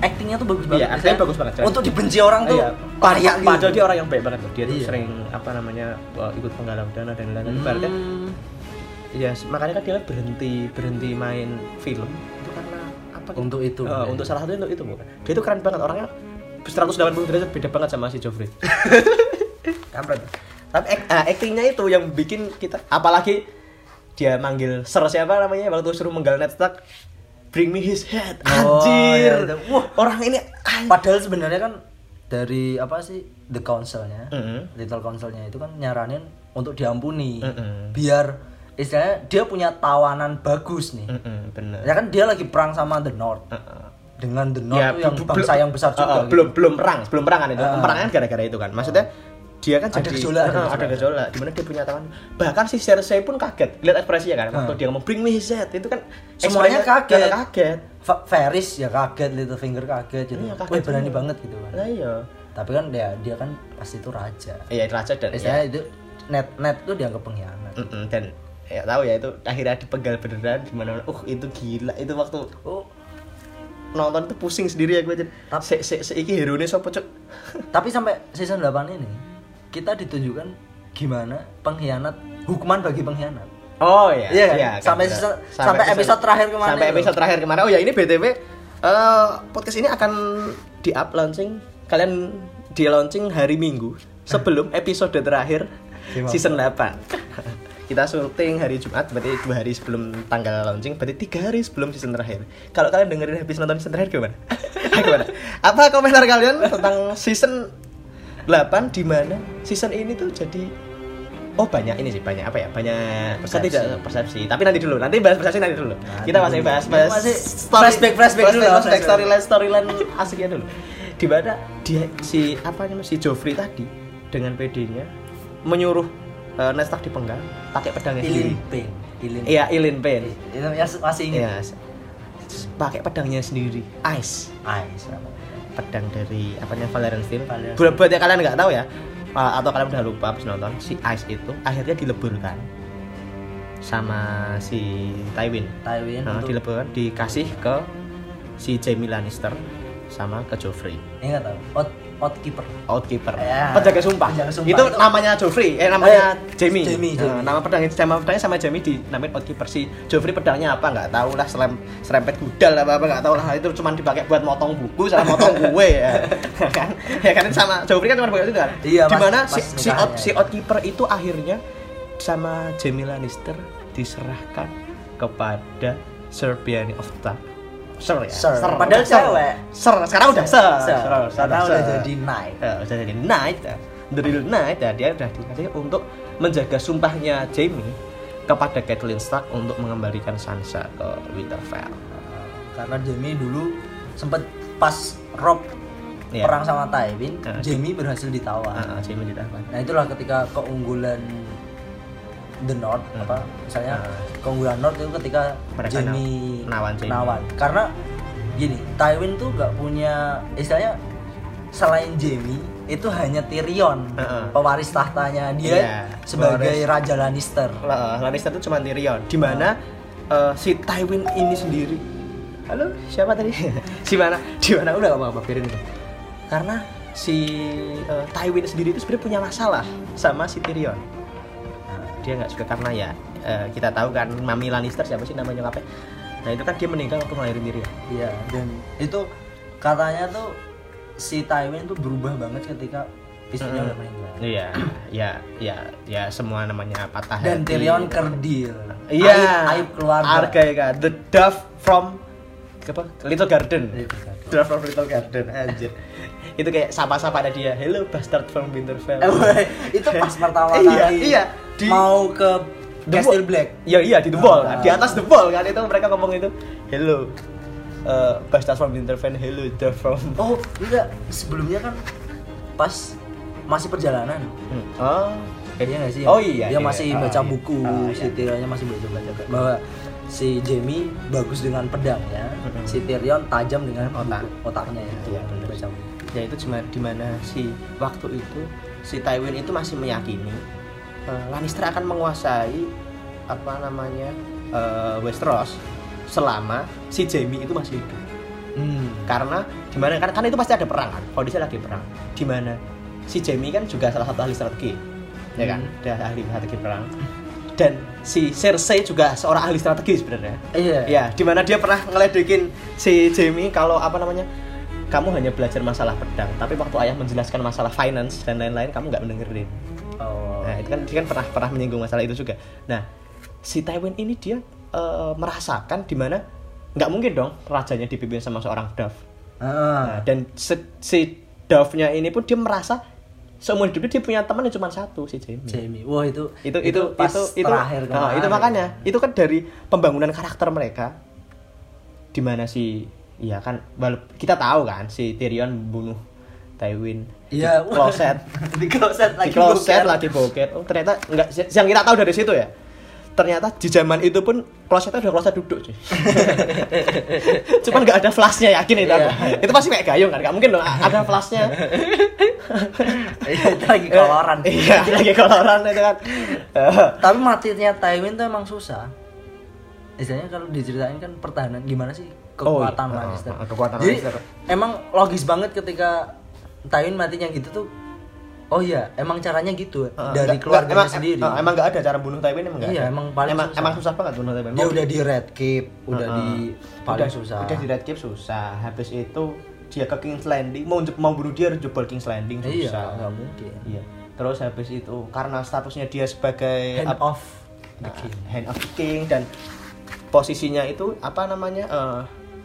Speaker 2: actingnya tuh bagus
Speaker 1: Iya,
Speaker 2: banget.
Speaker 1: actingnya
Speaker 2: Misalnya,
Speaker 1: bagus banget, coy.
Speaker 2: Untuk dibenci orang tuh
Speaker 1: Iya.
Speaker 2: pariah gitu.
Speaker 1: Padahal dia orang yang baik banget loh. Dia tuh
Speaker 2: Iya.
Speaker 1: sering apa namanya uh, ikut penggalang dana dan lain-lain.
Speaker 2: Hmm.
Speaker 1: Ibaratnya, ya makanya kan dia berhenti berhenti main film itu karena apa? gitu.
Speaker 2: Untuk itu.
Speaker 1: Eh, untuk salah satunya untuk itu bukan. Dia tuh keren banget orangnya 180 derajat beda banget sama si Joffrey.
Speaker 2: Kampret.
Speaker 1: Tapi act- ah, actingnya itu yang bikin kita apalagi dia manggil Sir siapa namanya waktu suruh menggal Ned Stark bring me his head
Speaker 2: Oh,
Speaker 1: anjir
Speaker 2: iya, itu.
Speaker 1: wah orang ini ah. anjir.
Speaker 2: Padahal sebenarnya kan dari apa sih the councilnya,
Speaker 1: Mm-mm.
Speaker 2: little councilnya itu kan nyaranin untuk diampuni,
Speaker 1: Mm-mm.
Speaker 2: biar istilahnya dia punya tawanan bagus nih.
Speaker 1: Mm-mm, bener
Speaker 2: Ya kan dia lagi perang sama the north,
Speaker 1: Ya,
Speaker 2: dengan the north tuh yang
Speaker 1: belum-
Speaker 2: bangsa
Speaker 1: belum-
Speaker 2: yang besar
Speaker 1: uh, uh,
Speaker 2: juga. gitu.
Speaker 1: belum belum perang, belum perang kan itu.
Speaker 2: Uh.
Speaker 1: Perang kan gara-gara itu kan. Maksudnya dia kan
Speaker 2: Ada
Speaker 1: jadi
Speaker 2: gejolak, ada
Speaker 1: uh, ada
Speaker 2: gejolak.
Speaker 1: gejolak. Dimana dia punya tangan. Bahkan si Cersei pun kaget. Lihat ekspresinya kan. Waktu
Speaker 2: Uh.
Speaker 1: dia ngomong bring me his head itu kan
Speaker 2: Semuanya
Speaker 1: ekspresinya-
Speaker 2: kaget.
Speaker 1: Kaget.
Speaker 2: Fa- Ferris ya kaget, Littlefinger kaget gitu.
Speaker 1: Iya, kaget
Speaker 2: Wih berani
Speaker 1: semua.
Speaker 2: banget gitu kan.
Speaker 1: Lah iya.
Speaker 2: Tapi kan dia dia kan pasti itu raja.
Speaker 1: Iya raja dan ya,
Speaker 2: Istilahnya itu net net tuh dianggap pengkhianat.
Speaker 1: mm-mm, dan ya tahu ya itu akhirnya dipegal beneran di mana uh itu gila itu waktu
Speaker 2: Oh,
Speaker 1: nonton itu pusing sendiri ya gue jadi
Speaker 2: Tapi-
Speaker 1: se se se iki hero sapa cuk
Speaker 2: tapi sampai season 8 ini kita ditunjukkan gimana pengkhianat hukuman bagi pengkhianat.
Speaker 1: Oh iya.
Speaker 2: Iya kan?
Speaker 1: kan,
Speaker 2: Sampai
Speaker 1: benar.
Speaker 2: season- sampai episode terakhir kemarin
Speaker 1: Sampai
Speaker 2: itu.
Speaker 1: episode terakhir kemarin. Oh ya ini BTW eh, podcast ini akan di-up launching kalian di launching hari Minggu sebelum episode terakhir
Speaker 2: Gimana?
Speaker 1: season 8. Kita syuting hari Jumat berarti dua hari sebelum tanggal launching berarti tiga hari sebelum season terakhir. Kalau kalian dengerin habis nonton season terakhir gimana? gimana? Apa komentar kalian tentang season 8 di mana season ini tuh jadi Oh banyak ini sih banyak apa ya banyak
Speaker 2: Persepsi.
Speaker 1: ketidak- persepsi tapi nanti dulu nanti bahas persepsi nanti dulu kita masih
Speaker 2: dulu.
Speaker 1: bahas bahas
Speaker 2: Masih flashback- flashback dulu,
Speaker 1: flashback,
Speaker 2: flashback.
Speaker 1: storyline storyline asiknya dulu di mana dia si apa namanya si Joffrey tadi dengan PD-nya menyuruh uh, Ned Stark dipenggal pakai pedangnya sendiri
Speaker 2: Ilin Pain, Ilin.
Speaker 1: iya Ilin Pen
Speaker 2: Itu yang masih ingin.
Speaker 1: iya pakai pedangnya sendiri Ice
Speaker 2: Ais, apa?
Speaker 1: pedang dari apa namanya Valerian Steel.
Speaker 2: Valerian
Speaker 1: Buat buat yang kalian nggak tahu ya uh, atau kalian udah lupa habis nonton si Ice itu akhirnya dileburkan sama si Tywin.
Speaker 2: Tywin
Speaker 1: Nah,
Speaker 2: untuk-
Speaker 1: dileburkan dikasih ke si Jaime Lannister sama ke Joffrey.
Speaker 2: Ingat tahu? Out outkeeper.
Speaker 1: Outkeeper.
Speaker 2: Ya.
Speaker 1: Penjaga sumpah.
Speaker 2: Penjaga sumpah
Speaker 1: Itu,
Speaker 2: itu-
Speaker 1: namanya Joffrey, eh namanya
Speaker 2: Eh,
Speaker 1: Jaime.
Speaker 2: Jaime,
Speaker 1: Nah,
Speaker 2: Jaime.
Speaker 1: nama pedangnya sama pedangnya sama Jaime dinamain Outkeeper si Joffrey pedangnya apa nggak tahu lah selem serempet gudal apa apa nggak tahu lah itu cuma dipakai buat motong buku sama motong kue ya Ya kan ya kan itu sama Joffrey kan cuma pakai itu kan
Speaker 2: Iya, pas-
Speaker 1: dimana
Speaker 2: pas
Speaker 1: si si,
Speaker 2: nikahannya.
Speaker 1: Out- si Outkeeper itu akhirnya sama Jaime Lannister diserahkan kepada Sir Bjarni of Tarth Sir ya
Speaker 2: Sir. Padahal
Speaker 1: Sir.
Speaker 2: cewek.
Speaker 1: Sir sekarang udah Sir
Speaker 2: Sir. Karena udah
Speaker 1: Sir.
Speaker 2: jadi Ah, knight.
Speaker 1: Eh, udah jadi knight eh. the real knight ya dia udah dikasih untuk menjaga sumpahnya Jaime kepada Catelyn Stark untuk mengembalikan Sansa ke Winterfell
Speaker 2: Karena Jamie dulu sempet pas Rob
Speaker 1: Iya.
Speaker 2: perang sama Tywin,
Speaker 1: Nah,
Speaker 2: Jamie berhasil ditawar.
Speaker 1: Ah, ah, Jaime ditahan
Speaker 2: Nah itulah ketika keunggulan The North
Speaker 1: Hmm.
Speaker 2: apa misalnya
Speaker 1: Hmm.
Speaker 2: keunggulan North itu ketika
Speaker 1: Mereka
Speaker 2: Jamie
Speaker 1: na- nawan Jaime.
Speaker 2: karena gini Tywin tuh nggak punya istilahnya selain Jamie itu hanya Tyrion
Speaker 1: Heeh.
Speaker 2: pewaris tahtanya dia
Speaker 1: Iya,
Speaker 2: sebagai
Speaker 1: pewaris.
Speaker 2: raja Lannister
Speaker 1: La- Lannister itu cuma Tyrion di mana eh, si Tywin ini sendiri halo siapa tadi si mana di mana udah gak apa-apa biarin itu karena si eh, Tywin sendiri itu sebenarnya punya masalah sama si Tyrion dia nggak suka karena ya eh, kita tahu kan Mami Lannister siapa sih namanya nyokapnya nah itu kan dia meninggal waktu ngelahirin Tyrion
Speaker 2: Iya dan itu katanya tuh si Tywin tuh berubah banget ketika istrinya udah meninggal
Speaker 1: iya ya ya ya semua namanya patah
Speaker 2: dan
Speaker 1: hati.
Speaker 2: Tyrion kerdil
Speaker 1: Iya.
Speaker 2: aib, aib keluarga
Speaker 1: Argaika, The Dove from apa? Little Garden.
Speaker 2: Little Garden.
Speaker 1: Dove from Little Garden. Anjir. itu kayak sapa-sapa ada dia. Hello bastard from Winterfell.
Speaker 2: Eh, weh, itu pas pertama kali
Speaker 1: Iya, iya. Di-
Speaker 2: mau ke
Speaker 1: The Wall.
Speaker 2: Castle Black
Speaker 1: Iya, iya di The Wall.
Speaker 2: Ah.
Speaker 1: Di atas The Wall kan itu mereka ngomong itu. Hello eh, bastard from Winterfell. Hello Dove from
Speaker 2: oh enggak sebelumnya kan pas masih perjalanan
Speaker 1: Hmm. Oh.
Speaker 2: kayaknya nggak sih ya?
Speaker 1: Oh iya,
Speaker 2: dia
Speaker 1: iya.
Speaker 2: masih
Speaker 1: Ah,
Speaker 2: baca
Speaker 1: iya.
Speaker 2: buku
Speaker 1: Ah,
Speaker 2: si
Speaker 1: iya.
Speaker 2: Tyrion masih baca baca bahwa si Jamie bagus dengan pedangnya
Speaker 1: Mm-mm.
Speaker 2: si Tyrion tajam dengan
Speaker 1: Otak.
Speaker 2: buku- otaknya itu
Speaker 1: Iya, bener.
Speaker 2: baca buku.
Speaker 1: ya itu cuma di mana si waktu itu si Tywin itu masih meyakini eh, Lannister akan menguasai apa namanya eh, Westeros selama si Jaime itu masih hidup.
Speaker 2: Hmm.
Speaker 1: karena di mana karena, karena itu pasti ada perang kan kondisinya lagi perang di mana si Jamie kan juga salah satu ahli strategi ya kan
Speaker 2: Hmm.
Speaker 1: dia ahli strategi perang dan si Cersei juga seorang ahli strategi sebenarnya
Speaker 2: Iya.
Speaker 1: ya di mana dia pernah ngeledekin si Jamie kalau apa namanya kamu hanya belajar masalah pedang tapi waktu ayah menjelaskan masalah finance dan lain-lain kamu nggak mendengerin
Speaker 2: Oh.
Speaker 1: Nah, itu kan dia kan pernah pernah menyinggung masalah itu juga. Nah, si Tywin ini dia eh, merasakan di mana nggak mungkin dong rajanya dipimpin sama seorang Dove. Nah,
Speaker 2: Ah.
Speaker 1: dan se- si Dove-nya ini pun dia merasa seumur hidupnya dia punya teman yang cuma satu si Jaime.
Speaker 2: Jamie. Wah, itu
Speaker 1: itu itu
Speaker 2: pas
Speaker 1: itu itu,
Speaker 2: terakhir
Speaker 1: Ah, itu
Speaker 2: kemarin.
Speaker 1: makanya itu kan dari pembangunan karakter mereka di mana si ya kan walaupun kita tahu kan si Tyrion membunuh Tywin di
Speaker 2: Iya, wah.
Speaker 1: kloset
Speaker 2: di kloset
Speaker 1: di
Speaker 2: lagi.
Speaker 1: kloset
Speaker 2: boker.
Speaker 1: lagi boker oh ternyata enggak yang kita tahu dari situ ya ternyata di zaman itu pun klosetnya udah kloset duduk cuy cuman nggak ada flashnya yakin itu aku. itu pasti kayak gayung kan nggak mungkin dong a- ada flashnya
Speaker 2: Iya, itu lagi koloran.
Speaker 1: iya lagi koloran itu kan Eh,
Speaker 2: Tapi matinya Tywin tuh emang susah. Istilahnya kalau diceritain kan pertahanan gimana sih kekuatan
Speaker 1: Oh, iya.
Speaker 2: Lannister.
Speaker 1: Ah, ah, kekuatan
Speaker 2: Jadi,
Speaker 1: Lannister.
Speaker 2: Emang logis banget ketika Tywin matinya gitu tuh. Oh iya, emang caranya gitu
Speaker 1: Eh,
Speaker 2: dari
Speaker 1: Nggak- nggak,
Speaker 2: keluarganya
Speaker 1: emang,
Speaker 2: sendiri.
Speaker 1: eh, emang nggak ada cara bunuh Tywin emang nggak
Speaker 2: Iya,
Speaker 1: ada.
Speaker 2: emang paling
Speaker 1: emang,
Speaker 2: susah.
Speaker 1: emang susah banget bunuh Tywin
Speaker 2: dia
Speaker 1: Mau- Eh,
Speaker 2: udah di red keep, udah di
Speaker 1: udah,
Speaker 2: paling susah.
Speaker 1: udah di red keep susah habis itu dia ke King's Landing mau mau bunuh dia harus jebol King's Landing
Speaker 2: Iya,
Speaker 1: susah
Speaker 2: nggak mungkin.
Speaker 1: Iya. Terus habis itu karena statusnya dia sebagai Iya,
Speaker 2: Hand
Speaker 1: ap-
Speaker 2: off the
Speaker 1: nah,
Speaker 2: king.
Speaker 1: hand of the king dan posisinya itu apa namanya eh,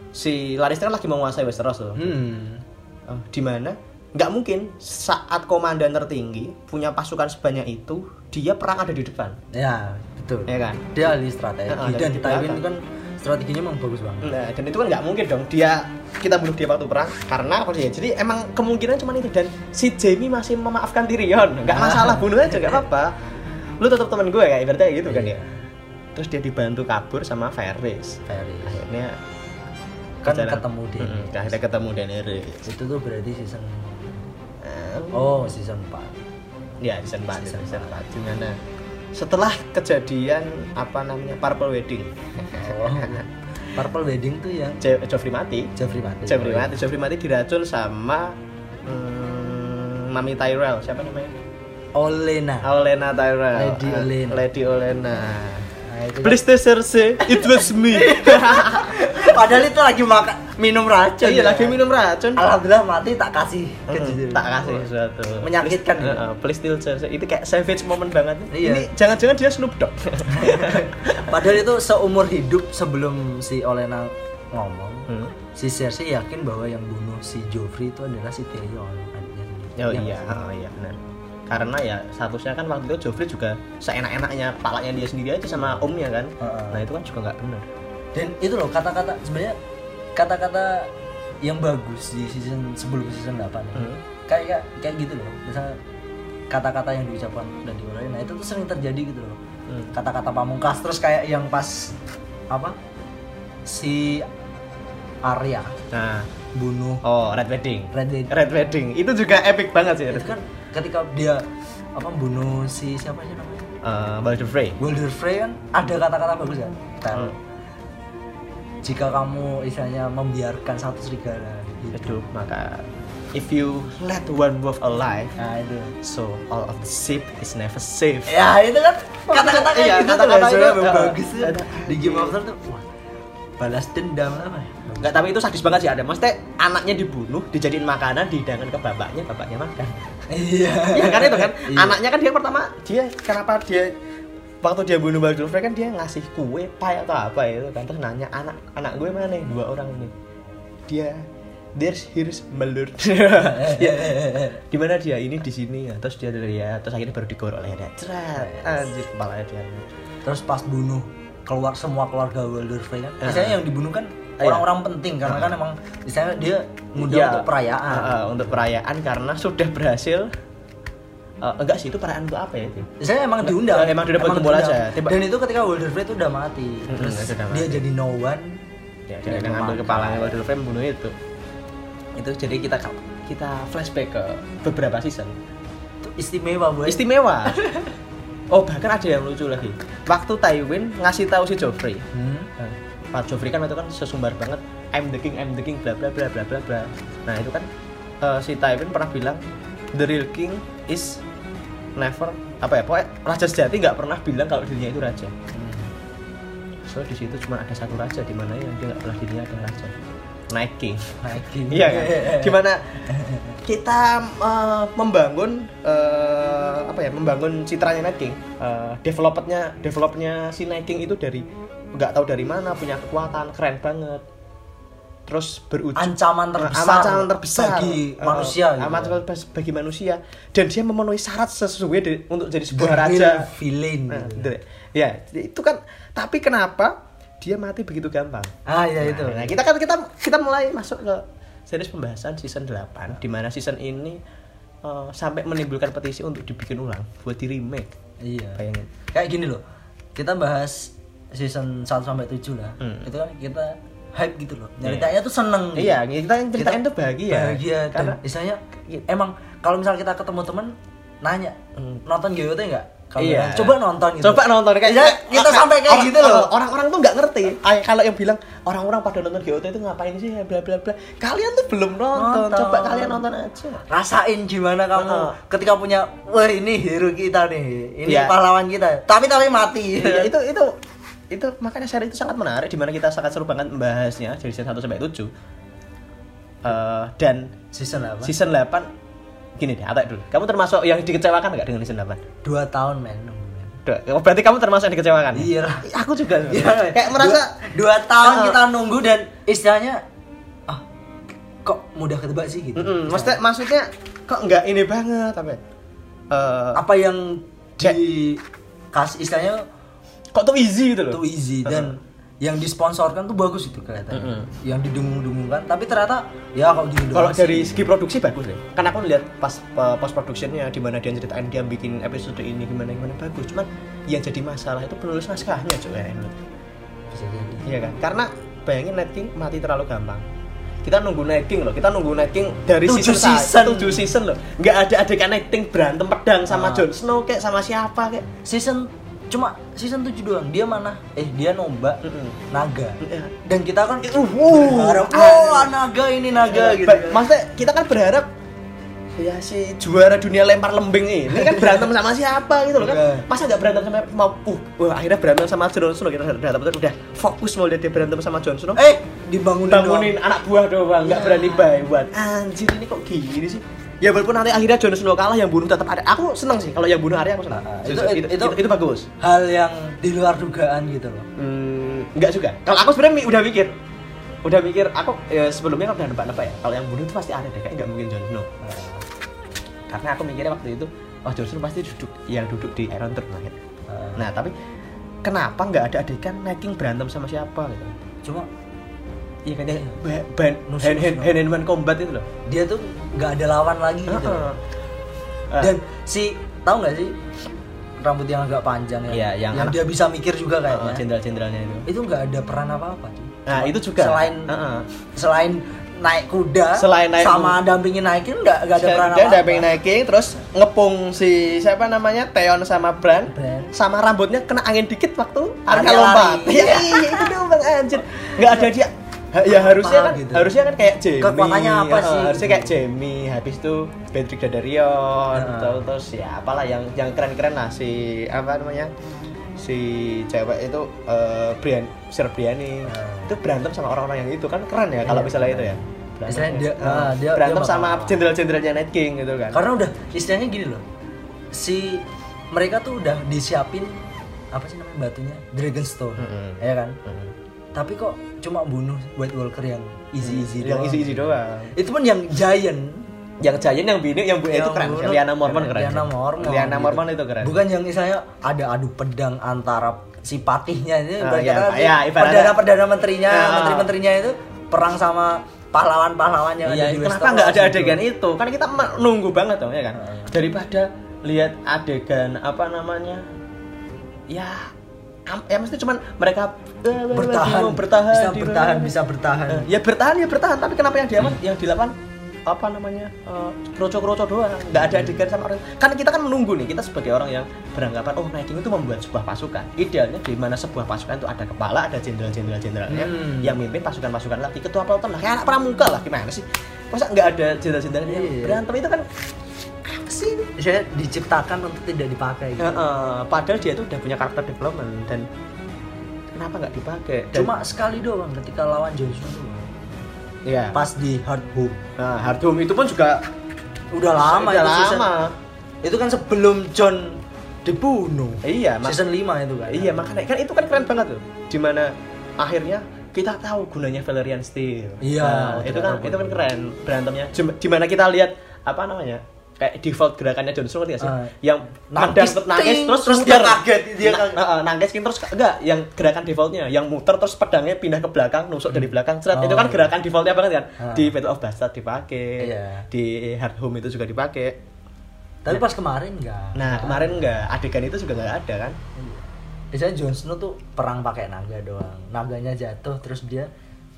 Speaker 1: si Lannister kan lagi menguasai Westeros loh.
Speaker 2: Hmm.
Speaker 1: Eh, di mana nggak mungkin saat komandan tertinggi punya pasukan sebanyak itu dia perang ada di depan,
Speaker 2: Ya, betul.
Speaker 1: ya kan?
Speaker 2: Dia ahli strategi
Speaker 1: Ah, ah, dari
Speaker 2: dan
Speaker 1: di
Speaker 2: Tywin
Speaker 1: belakang.
Speaker 2: itu kan strateginya emang bagus banget.
Speaker 1: Nah, dan itu kan nggak mungkin dong dia kita bunuh dia waktu perang karena apa sih? Jadi emang kemungkinan cuma itu dan si Jamie masih memaafkan Tyrion.
Speaker 2: Ah.
Speaker 1: Nggak masalah bunuh aja nggak apa-apa. Lu tetap temen gue kayak ibaratnya kayak gitu kan ya.
Speaker 2: Iya.
Speaker 1: Terus dia dibantu kabur sama Varys.
Speaker 2: Very.
Speaker 1: Akhirnya
Speaker 2: Kan
Speaker 1: kejalan-
Speaker 2: ketemu dia.
Speaker 1: Mm-mm, akhirnya ketemu Daenerys.
Speaker 2: Itu tuh berarti season
Speaker 1: Eh,
Speaker 2: Oh, season 4.
Speaker 1: Ya, season 4,
Speaker 2: Season
Speaker 1: season 4. Di mana setelah kejadian apa namanya Purple Wedding,
Speaker 2: Oh. Purple Wedding tuh yang
Speaker 1: Jo- Joffrey mati.
Speaker 2: Jeffrey Mati.
Speaker 1: Jeffrey mati, Jeffrey mati diracun sama hmm, Mami Tyrell, siapa namanya?
Speaker 2: Olena.
Speaker 1: Olena Tyrell.
Speaker 2: Lady
Speaker 1: Ah,
Speaker 2: Olena.
Speaker 1: Lady Olena.
Speaker 2: Nah, itu
Speaker 1: Please to Cersei, it was me.
Speaker 2: kan- Padahal itu lagi makan minum racun.
Speaker 1: Iya
Speaker 2: ya.
Speaker 1: lagi minum racun.
Speaker 2: Alhamdulillah mati tak kasih.
Speaker 1: Mm, tak kasih sesuatu.
Speaker 2: Menyakitkan
Speaker 1: Please,
Speaker 2: gitu.
Speaker 1: uh, uh, please to Cersei. Itu kayak savage moment banget.
Speaker 2: Iya.
Speaker 1: Ini jangan-jangan dia Snoop Dogg.
Speaker 2: Padahal itu seumur hidup sebelum si Olena ngomong,
Speaker 1: Hmm.
Speaker 2: si Cersei yakin bahwa yang bunuh si Joffrey itu adalah si Tyrion adiknya sendiri.
Speaker 1: Oh
Speaker 2: Ya
Speaker 1: iya,
Speaker 2: nggak
Speaker 1: oh, iya benar. Karena ya statusnya kan waktu itu Joffrey juga seenak-enaknya palanya dia sendiri aja sama omnya kan.
Speaker 2: Heeh.
Speaker 1: Nah itu kan juga nggak benar.
Speaker 2: sih? Dan itu loh kata-kata sebenarnya kata-kata yang bagus di season sebelum season 8 ya.
Speaker 1: Hmm.
Speaker 2: kayak kayak gitu loh. Misalnya kata-kata yang diucapkan dan diulangi. Nah, itu tuh sering terjadi gitu loh.
Speaker 1: Hmm.
Speaker 2: Kata-kata pamungkas terus kayak yang pas apa? Si Arya
Speaker 1: Nah,
Speaker 2: bunuh
Speaker 1: oh Red Wedding.
Speaker 2: Red Wedding.
Speaker 1: Red Wedding itu juga epic banget sih.
Speaker 2: itu kan ketika dia apa bunuh si siapa sih namanya
Speaker 1: Eh, Baldur Frey.
Speaker 2: Wilder Frey kan ada kata-kata bagus kan tell
Speaker 1: Hmm.
Speaker 2: jika kamu istilahnya membiarkan satu serigala hidup
Speaker 1: Hidup maka if you let one wolf alive,
Speaker 2: nah itu
Speaker 1: so all of the sheep is never safe.
Speaker 2: ya itu kan kata-kata kayak
Speaker 1: Iya,
Speaker 2: gitu tuh
Speaker 1: kata-kata
Speaker 2: kata-kata
Speaker 1: itu,
Speaker 2: yang
Speaker 1: uh,
Speaker 2: bagus tuh.
Speaker 1: ada-
Speaker 2: di Game of Thrones tuh wah, balas dendam apa ya
Speaker 1: Enggak, tapi itu sadis banget sih ada. Maksudnya anaknya dibunuh, dijadiin makanan, dihidangkan ke bapaknya, bapaknya makan.
Speaker 2: iya
Speaker 1: ya kan itu kan
Speaker 2: Iya.
Speaker 1: anaknya kan dia pertama dia kenapa dia waktu dia bunuh Baldur Frey kan dia ngasih kue pie atau apa itu kan terus nanya anak anak gue mana nih dua orang ini dia there's here's Baldur
Speaker 2: Iya.
Speaker 1: ya di mana dia ini di sini ya terus dia dari ya terus akhirnya baru digorok oleh dia cerat anjir kepalanya dia
Speaker 2: terus pas bunuh keluar semua keluarga Wilder Frey kan
Speaker 1: Ah.
Speaker 2: misalnya yang dibunuh kan
Speaker 1: Ah, iya.
Speaker 2: orang-orang penting karena kan emang misalnya dia ngundang
Speaker 1: Iya.
Speaker 2: untuk perayaan
Speaker 1: Ah, ah, untuk perayaan karena sudah berhasil Eh, enggak sih itu perayaan untuk apa ya Tim?
Speaker 2: Saya emang diundang.
Speaker 1: Emang diundang buat kumpul
Speaker 2: diundang.
Speaker 1: aja. Tiba-
Speaker 2: Dan itu ketika Wilder Frey itu udah mati.
Speaker 1: Mm-mm,
Speaker 2: Terus
Speaker 1: itu udah
Speaker 2: dia
Speaker 1: mati.
Speaker 2: jadi no one.
Speaker 1: ya dia akan ngambil kepalanya Walter Frame bunuh itu itu jadi kita kita flashback ke beberapa season
Speaker 2: Itu istimewa buat
Speaker 1: istimewa oh bahkan ada yang lucu lagi waktu Tywin ngasih tahu si Joffrey
Speaker 2: Hmm.
Speaker 1: "Eh, Pak Joffrey kan itu kan sesumbar banget I'm the king, I'm the king, bla bla bla bla bla bla. Nah itu kan eh, si Tywin pernah bilang the real king is never apa ya pokoknya raja sejati nggak pernah bilang kalau dirinya itu raja. So di situ cuma ada satu raja di mana yang dia nggak pernah dirinya ada raja. Night King.
Speaker 2: Nike.
Speaker 1: Iya kan? Gimana kita eh, membangun eh, apa ya? Membangun citranya Night King. Eh, developernya developernya si Night King itu dari nggak tahu dari mana punya kekuatan keren banget. Terus berujung Nah,
Speaker 2: Ancaman terbesar
Speaker 1: ancaman terbesar
Speaker 2: bagi
Speaker 1: Eh,
Speaker 2: manusia gitu.
Speaker 1: ancaman terbesar bagi manusia dan dia memenuhi syarat sesuai de- untuk jadi sebuah
Speaker 2: The real
Speaker 1: raja
Speaker 2: villain.
Speaker 1: Nah,
Speaker 2: gitu.
Speaker 1: the- ya itu kan tapi kenapa dia mati begitu gampang
Speaker 2: Ah, iya itu.
Speaker 1: Nah, kita kan kita kita mulai masuk ke series pembahasan season 8 di mana season ini eh, sampai menimbulkan petisi untuk dibikin ulang buat di remake.
Speaker 2: Iya.
Speaker 1: Bayangin.
Speaker 2: Kayak gini loh. Kita bahas season 1 sampai 7 lah.
Speaker 1: Hmm.
Speaker 2: Itu kan kita hype gitu loh. Ceritanya tuh seneng. gitu.
Speaker 1: Iya, kita yang ceritain
Speaker 2: Kita
Speaker 1: tuh bahagia.
Speaker 2: Bahagia
Speaker 1: Karena
Speaker 2: karena misalnya emang kalau misal kita ketemu temen nanya nonton GOT enggak? Kalau bilang, coba nonton gitu.
Speaker 1: Iya. Coba nonton kayak Oh,
Speaker 2: Iya, kita sampai kayak
Speaker 1: orang-
Speaker 2: gitu loh.
Speaker 1: Orang-orang tuh nggak ngerti. Ay- kalau yang bilang orang-orang pada nonton GOT itu ngapain sih bla bla bla. Kalian tuh belum nonton.
Speaker 2: Nonton.
Speaker 1: Coba kalian nonton aja.
Speaker 2: rasain gimana kamu
Speaker 1: Heeh.
Speaker 2: ketika punya wah ini hero kita nih ini
Speaker 1: Iya.
Speaker 2: pahlawan kita tapi tapi mati
Speaker 1: Iya, itu itu itu makanya seri itu sangat menarik di mana kita sangat seru banget membahasnya dari season 1 sampai 7. Eh, dan
Speaker 2: season apa
Speaker 1: season 8 gini deh, apa dulu? Kamu termasuk yang dikecewakan nggak dengan season 8?
Speaker 2: dua tahun men
Speaker 1: Duh, oh, berarti kamu termasuk yang dikecewakan? ya?
Speaker 2: Iya.
Speaker 1: Aku juga.
Speaker 2: Iya,
Speaker 1: kayak merasa
Speaker 2: dua, dua tahun
Speaker 1: Heeh.
Speaker 2: kita nunggu dan istilahnya ah kok mudah ketebak sih gitu
Speaker 1: Mm-mm, maksudnya, maksudnya kok nggak ini banget apa? ya? Eh,
Speaker 2: apa yang di kas istilahnya
Speaker 1: kok tuh easy gitu loh?
Speaker 2: itu easy dan yang disponsorkan tuh bagus itu kelihatannya yang didengung-dengungkan tapi ternyata ya kalau gini
Speaker 1: Kalau
Speaker 2: doang sih.
Speaker 1: dari segi produksi bagus deh. Kan aku lihat pas post productionnya di mana dia ceritain dia bikin episode ini gimana gimana bagus. Cuman yang jadi masalah itu penulis naskahnya cuy.
Speaker 2: bisa jadi
Speaker 1: Iya kan? Karena bayangin Night King mati terlalu gampang. Kita nunggu Night King loh. Kita nunggu Night King dari
Speaker 2: Tujuh
Speaker 1: sa-
Speaker 2: season.
Speaker 1: tujuh season loh. Nggak ada adegan Night King berantem pedang sama
Speaker 2: Ah.
Speaker 1: Jon Snow kayak sama siapa kayak.
Speaker 2: season cuma season 7 doang dia mana eh dia nombak
Speaker 1: Mm-mm.
Speaker 2: naga
Speaker 1: Iya.
Speaker 2: dan kita kan
Speaker 1: Uh, uh,
Speaker 2: berharap,
Speaker 1: uh.
Speaker 2: oh naga ini naga gitu
Speaker 1: Ba- Maksudnya kita kan berharap ya si juara dunia lempar lembing ini kan berantem sama siapa gitu loh
Speaker 2: Iya.
Speaker 1: kan masa nggak berantem sama mau uh, wah, akhirnya berantem sama Jon Snow kita udah udah- udah fokus mau lihat dia berantem sama Jon Snow
Speaker 2: eh dibangunin
Speaker 1: bangunin anak buah doang nggak
Speaker 2: Iya.
Speaker 1: berani bayuan anjir ini kok gini sih ya walaupun nanti akhirnya Jon Snow kalah yang bunuh tetap ada aku seneng sih kalau yang bunuh Arya aku seneng
Speaker 2: Ah, ah,
Speaker 1: itu,
Speaker 2: itu-
Speaker 1: itu,
Speaker 2: itu-
Speaker 1: itu, itu bagus
Speaker 2: doang. hal yang di luar dugaan gitu loh
Speaker 1: Hmm, enggak juga. Kalau aku sebenarnya mi- udah mikir, udah mikir aku ya, sebelumnya kan udah nebak-nebak ya. Kalau yang bunuh itu pasti ada deh, kayak nggak mungkin Jon Snow.
Speaker 2: Nah,
Speaker 1: Karena aku mikirnya waktu itu, oh Jon Snow pasti duduk yang duduk di Iron Throne lah, ya.
Speaker 2: nah
Speaker 1: Nah tapi kenapa nggak ada adegan Night King berantem sama siapa gitu?
Speaker 2: cuma
Speaker 1: Iya kan yang ba- ban
Speaker 2: Nusuk-
Speaker 1: hand hand
Speaker 2: nusuk.
Speaker 1: hand hand combat itu loh.
Speaker 2: dia tuh nggak ada lawan lagi gitu
Speaker 1: Heeh.
Speaker 2: loh.
Speaker 1: Ah,
Speaker 2: dan si tahu nggak sih rambut yang agak panjang
Speaker 1: Iya,
Speaker 2: ya
Speaker 1: yang anak-
Speaker 2: dia bisa mikir juga
Speaker 1: ah,
Speaker 2: kayaknya
Speaker 1: jenderal-jenderalnya itu.
Speaker 2: itu nggak ada peran apa apa
Speaker 1: Nah, itu juga.
Speaker 2: selain
Speaker 1: Heeh.
Speaker 2: selain naik kuda
Speaker 1: Selain naik
Speaker 2: sama dampingin naikin nggak nggak ada
Speaker 1: Dia-
Speaker 2: peran
Speaker 1: dia
Speaker 2: apa
Speaker 1: udah pengen naikin terus ngepung si siapa namanya Teon sama Bran
Speaker 2: Bran.
Speaker 1: sama rambutnya kena angin dikit waktu Arka
Speaker 2: Arya
Speaker 1: lompat
Speaker 2: lari.
Speaker 1: iya iya itu dong bang anjir nggak ada dia Ha- ya harusnya kan
Speaker 2: gitu.
Speaker 1: harusnya kan kayak Jamie
Speaker 2: Kekuatannya apa
Speaker 1: Oh,
Speaker 2: sih?
Speaker 1: harusnya kayak Jamie habis itu Patrick Dadarion
Speaker 2: Nah.
Speaker 1: terus terus ya apalah yang yang keren keren lah si apa namanya si cewek itu eh Brian Sir Briani
Speaker 2: Nah.
Speaker 1: itu berantem sama orang-orang yang itu kan keren ya kalau
Speaker 2: Iya,
Speaker 1: misalnya
Speaker 2: keren.
Speaker 1: itu ya Berantem
Speaker 2: Misalnya
Speaker 1: ya.
Speaker 2: dia-
Speaker 1: Ah,
Speaker 2: ah, dia-
Speaker 1: berantem
Speaker 2: dia bakal
Speaker 1: sama
Speaker 2: lawan.
Speaker 1: jenderal-jenderalnya Night King gitu kan
Speaker 2: karena udah istilahnya gini loh si mereka tuh udah disiapin apa sih namanya batunya Dragonstone
Speaker 1: Mm-mm.
Speaker 2: ya kan
Speaker 1: Mm.
Speaker 2: tapi kok cuma bunuh White Walker yang easy easy
Speaker 1: yang isi isi doang
Speaker 2: itu pun yang giant
Speaker 1: yang Giant yang bini yang bu Eh, itu
Speaker 2: Yang
Speaker 1: keren sih.
Speaker 2: bunuh-
Speaker 1: Liana Mormon keren
Speaker 2: Ya, Liana
Speaker 1: sih.
Speaker 2: Mormon
Speaker 1: Liana
Speaker 2: gitu.
Speaker 1: Mormon itu keren
Speaker 2: bukan yang misalnya ada adu pedang antara si patihnya ini
Speaker 1: Ah,
Speaker 2: ibarat
Speaker 1: iya,
Speaker 2: kata
Speaker 1: iya, ibaratnya-
Speaker 2: perdana perdana menterinya
Speaker 1: Ah.
Speaker 2: menteri-menterinya itu perang sama pahlawan-pahlawan yang
Speaker 1: iya,
Speaker 2: ada di
Speaker 1: kenapa
Speaker 2: Westeros
Speaker 1: nggak ada
Speaker 2: gitu.
Speaker 1: adegan itu? Kan kita menunggu banget dong ya kan.
Speaker 2: Heeh.
Speaker 1: Daripada lihat adegan apa namanya? Ya am- ya mesti cuman mereka eh,
Speaker 2: bertahan
Speaker 1: Iya, bertahan iya.
Speaker 2: bisa bertahan bisa bertahan
Speaker 1: Eh, ya bertahan ya bertahan tapi kenapa yang diaman yang dilawan apa namanya eh, kroco-kroco doang nggak ada adegan sama orang karena kita kan menunggu nih kita sebagai orang yang beranggapan oh Nighting itu membuat sebuah pasukan idealnya di mana sebuah pasukan itu ada kepala ada jenderal-jenderal jenderalnya
Speaker 2: Hmm.
Speaker 1: yang mimpin pasukan-pasukan lagi ketua pelton lah kayak anak pramuka lah gimana sih masa nggak ada jenderal-jenderal yang
Speaker 2: Iya.
Speaker 1: berantem itu kan apa sih
Speaker 2: saya diciptakan untuk tidak dipakai gitu.
Speaker 1: Heeh, padahal dia itu udah punya karakter development dan kenapa nggak dipakai Ah, Dan-
Speaker 2: cuma sekali doang ketika lawan Joshua doang.
Speaker 1: ya
Speaker 2: pas di Hard Home
Speaker 1: nah, Hard Home itu pun juga
Speaker 2: udah lama
Speaker 1: Udah
Speaker 2: itu season-
Speaker 1: lama.
Speaker 2: itu kan sebelum John dibunuh
Speaker 1: iya mak-
Speaker 2: season 5 itu kan
Speaker 1: iya makanya kan itu kan keren banget loh dimana akhirnya kita tahu gunanya Valerian Steel
Speaker 2: Iya,
Speaker 1: Nah,
Speaker 2: waktu
Speaker 1: itu kan
Speaker 2: itu
Speaker 1: itu kan
Speaker 2: tahu.
Speaker 1: keren berantemnya Jem- dimana kita lihat apa namanya kayak default gerakannya John Snow ngerti nggak sih
Speaker 2: Ah.
Speaker 1: yang
Speaker 2: Nangkis,
Speaker 1: nangis, nangis
Speaker 2: ting,
Speaker 1: terus
Speaker 2: terus
Speaker 1: muter.
Speaker 2: dia kaget, dia
Speaker 1: Na-
Speaker 2: kaget.
Speaker 1: Heeh, nangkis terus enggak yang gerakan defaultnya yang muter terus pedangnya pindah ke belakang nusuk dari belakang seret.
Speaker 2: Oh,
Speaker 1: itu kan
Speaker 2: iya.
Speaker 1: gerakan defaultnya banget kan
Speaker 2: Ah.
Speaker 1: di Battle of Bastard dipakai
Speaker 2: Iya.
Speaker 1: di Hard Home itu juga dipakai
Speaker 2: tapi pas kemarin Iya. enggak
Speaker 1: Ya. nah kemarin enggak adegan itu juga nggak ada kan
Speaker 2: Iya. biasanya Jon Snow tuh perang pakai naga doang naganya jatuh terus dia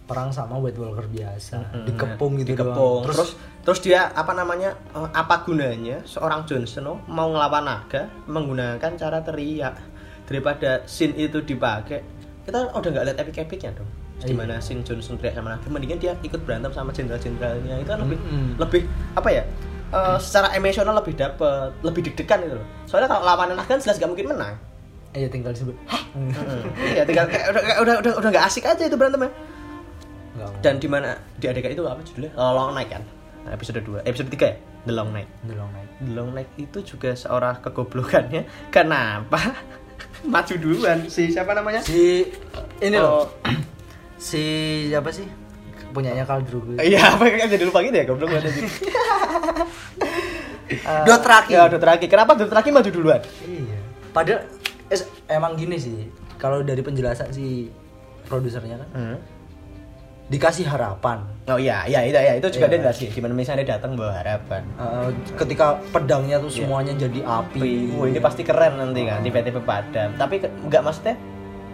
Speaker 2: perang sama White Walker biasa dikepung gitu
Speaker 1: iya. Hmm. dikepung
Speaker 2: doang
Speaker 1: terus, terus dia apa namanya eh, apa gunanya seorang Jon Snow mau ngelawan naga menggunakan cara teriak daripada scene itu dipakai kita udah nggak lihat epic epicnya dong gimana scene Jon Snow teriak sama naga mendingan dia ikut berantem sama jenderal-jenderalnya itu kan lebih
Speaker 2: Mm-mm.
Speaker 1: lebih apa ya eh, secara emosional lebih dapet lebih deg-degan itu loh soalnya kalau lawanan naga jelas nggak mungkin menang
Speaker 2: iya tinggal disebut hah
Speaker 1: iya tinggal kayak udah udah udah udah nggak asik aja itu berantemnya
Speaker 2: Enggak mau.
Speaker 1: dan di mana di adegan itu apa judulnya Eh, Long Night kan Nah, episode 2 episode 3 ya The Long Night
Speaker 2: The Long Night
Speaker 1: The Long Night itu juga seorang kegoblokannya kenapa maju duluan si siapa namanya
Speaker 2: si ini
Speaker 1: Oh.
Speaker 2: loh si apa sih punyanya Khal Drogo
Speaker 1: iya apa yang jadi lupa gitu ya goblok banget anjing.
Speaker 2: Eh, Dothraki
Speaker 1: ya Dothraki kenapa Dothraki maju duluan
Speaker 2: iya padahal es- emang gini sih kalau dari penjelasan si produsernya kan
Speaker 1: Hmm.
Speaker 2: dikasih harapan
Speaker 1: oh iya iya iya, iya. itu juga
Speaker 2: Iya.
Speaker 1: dia nggak sih gimana misalnya dia datang bawa harapan
Speaker 2: Eh, ketika pedangnya tuh semuanya jadi api
Speaker 1: Wah Iya. ini pasti keren nanti kan tiba-tiba padam tapi ke- nggak maksudnya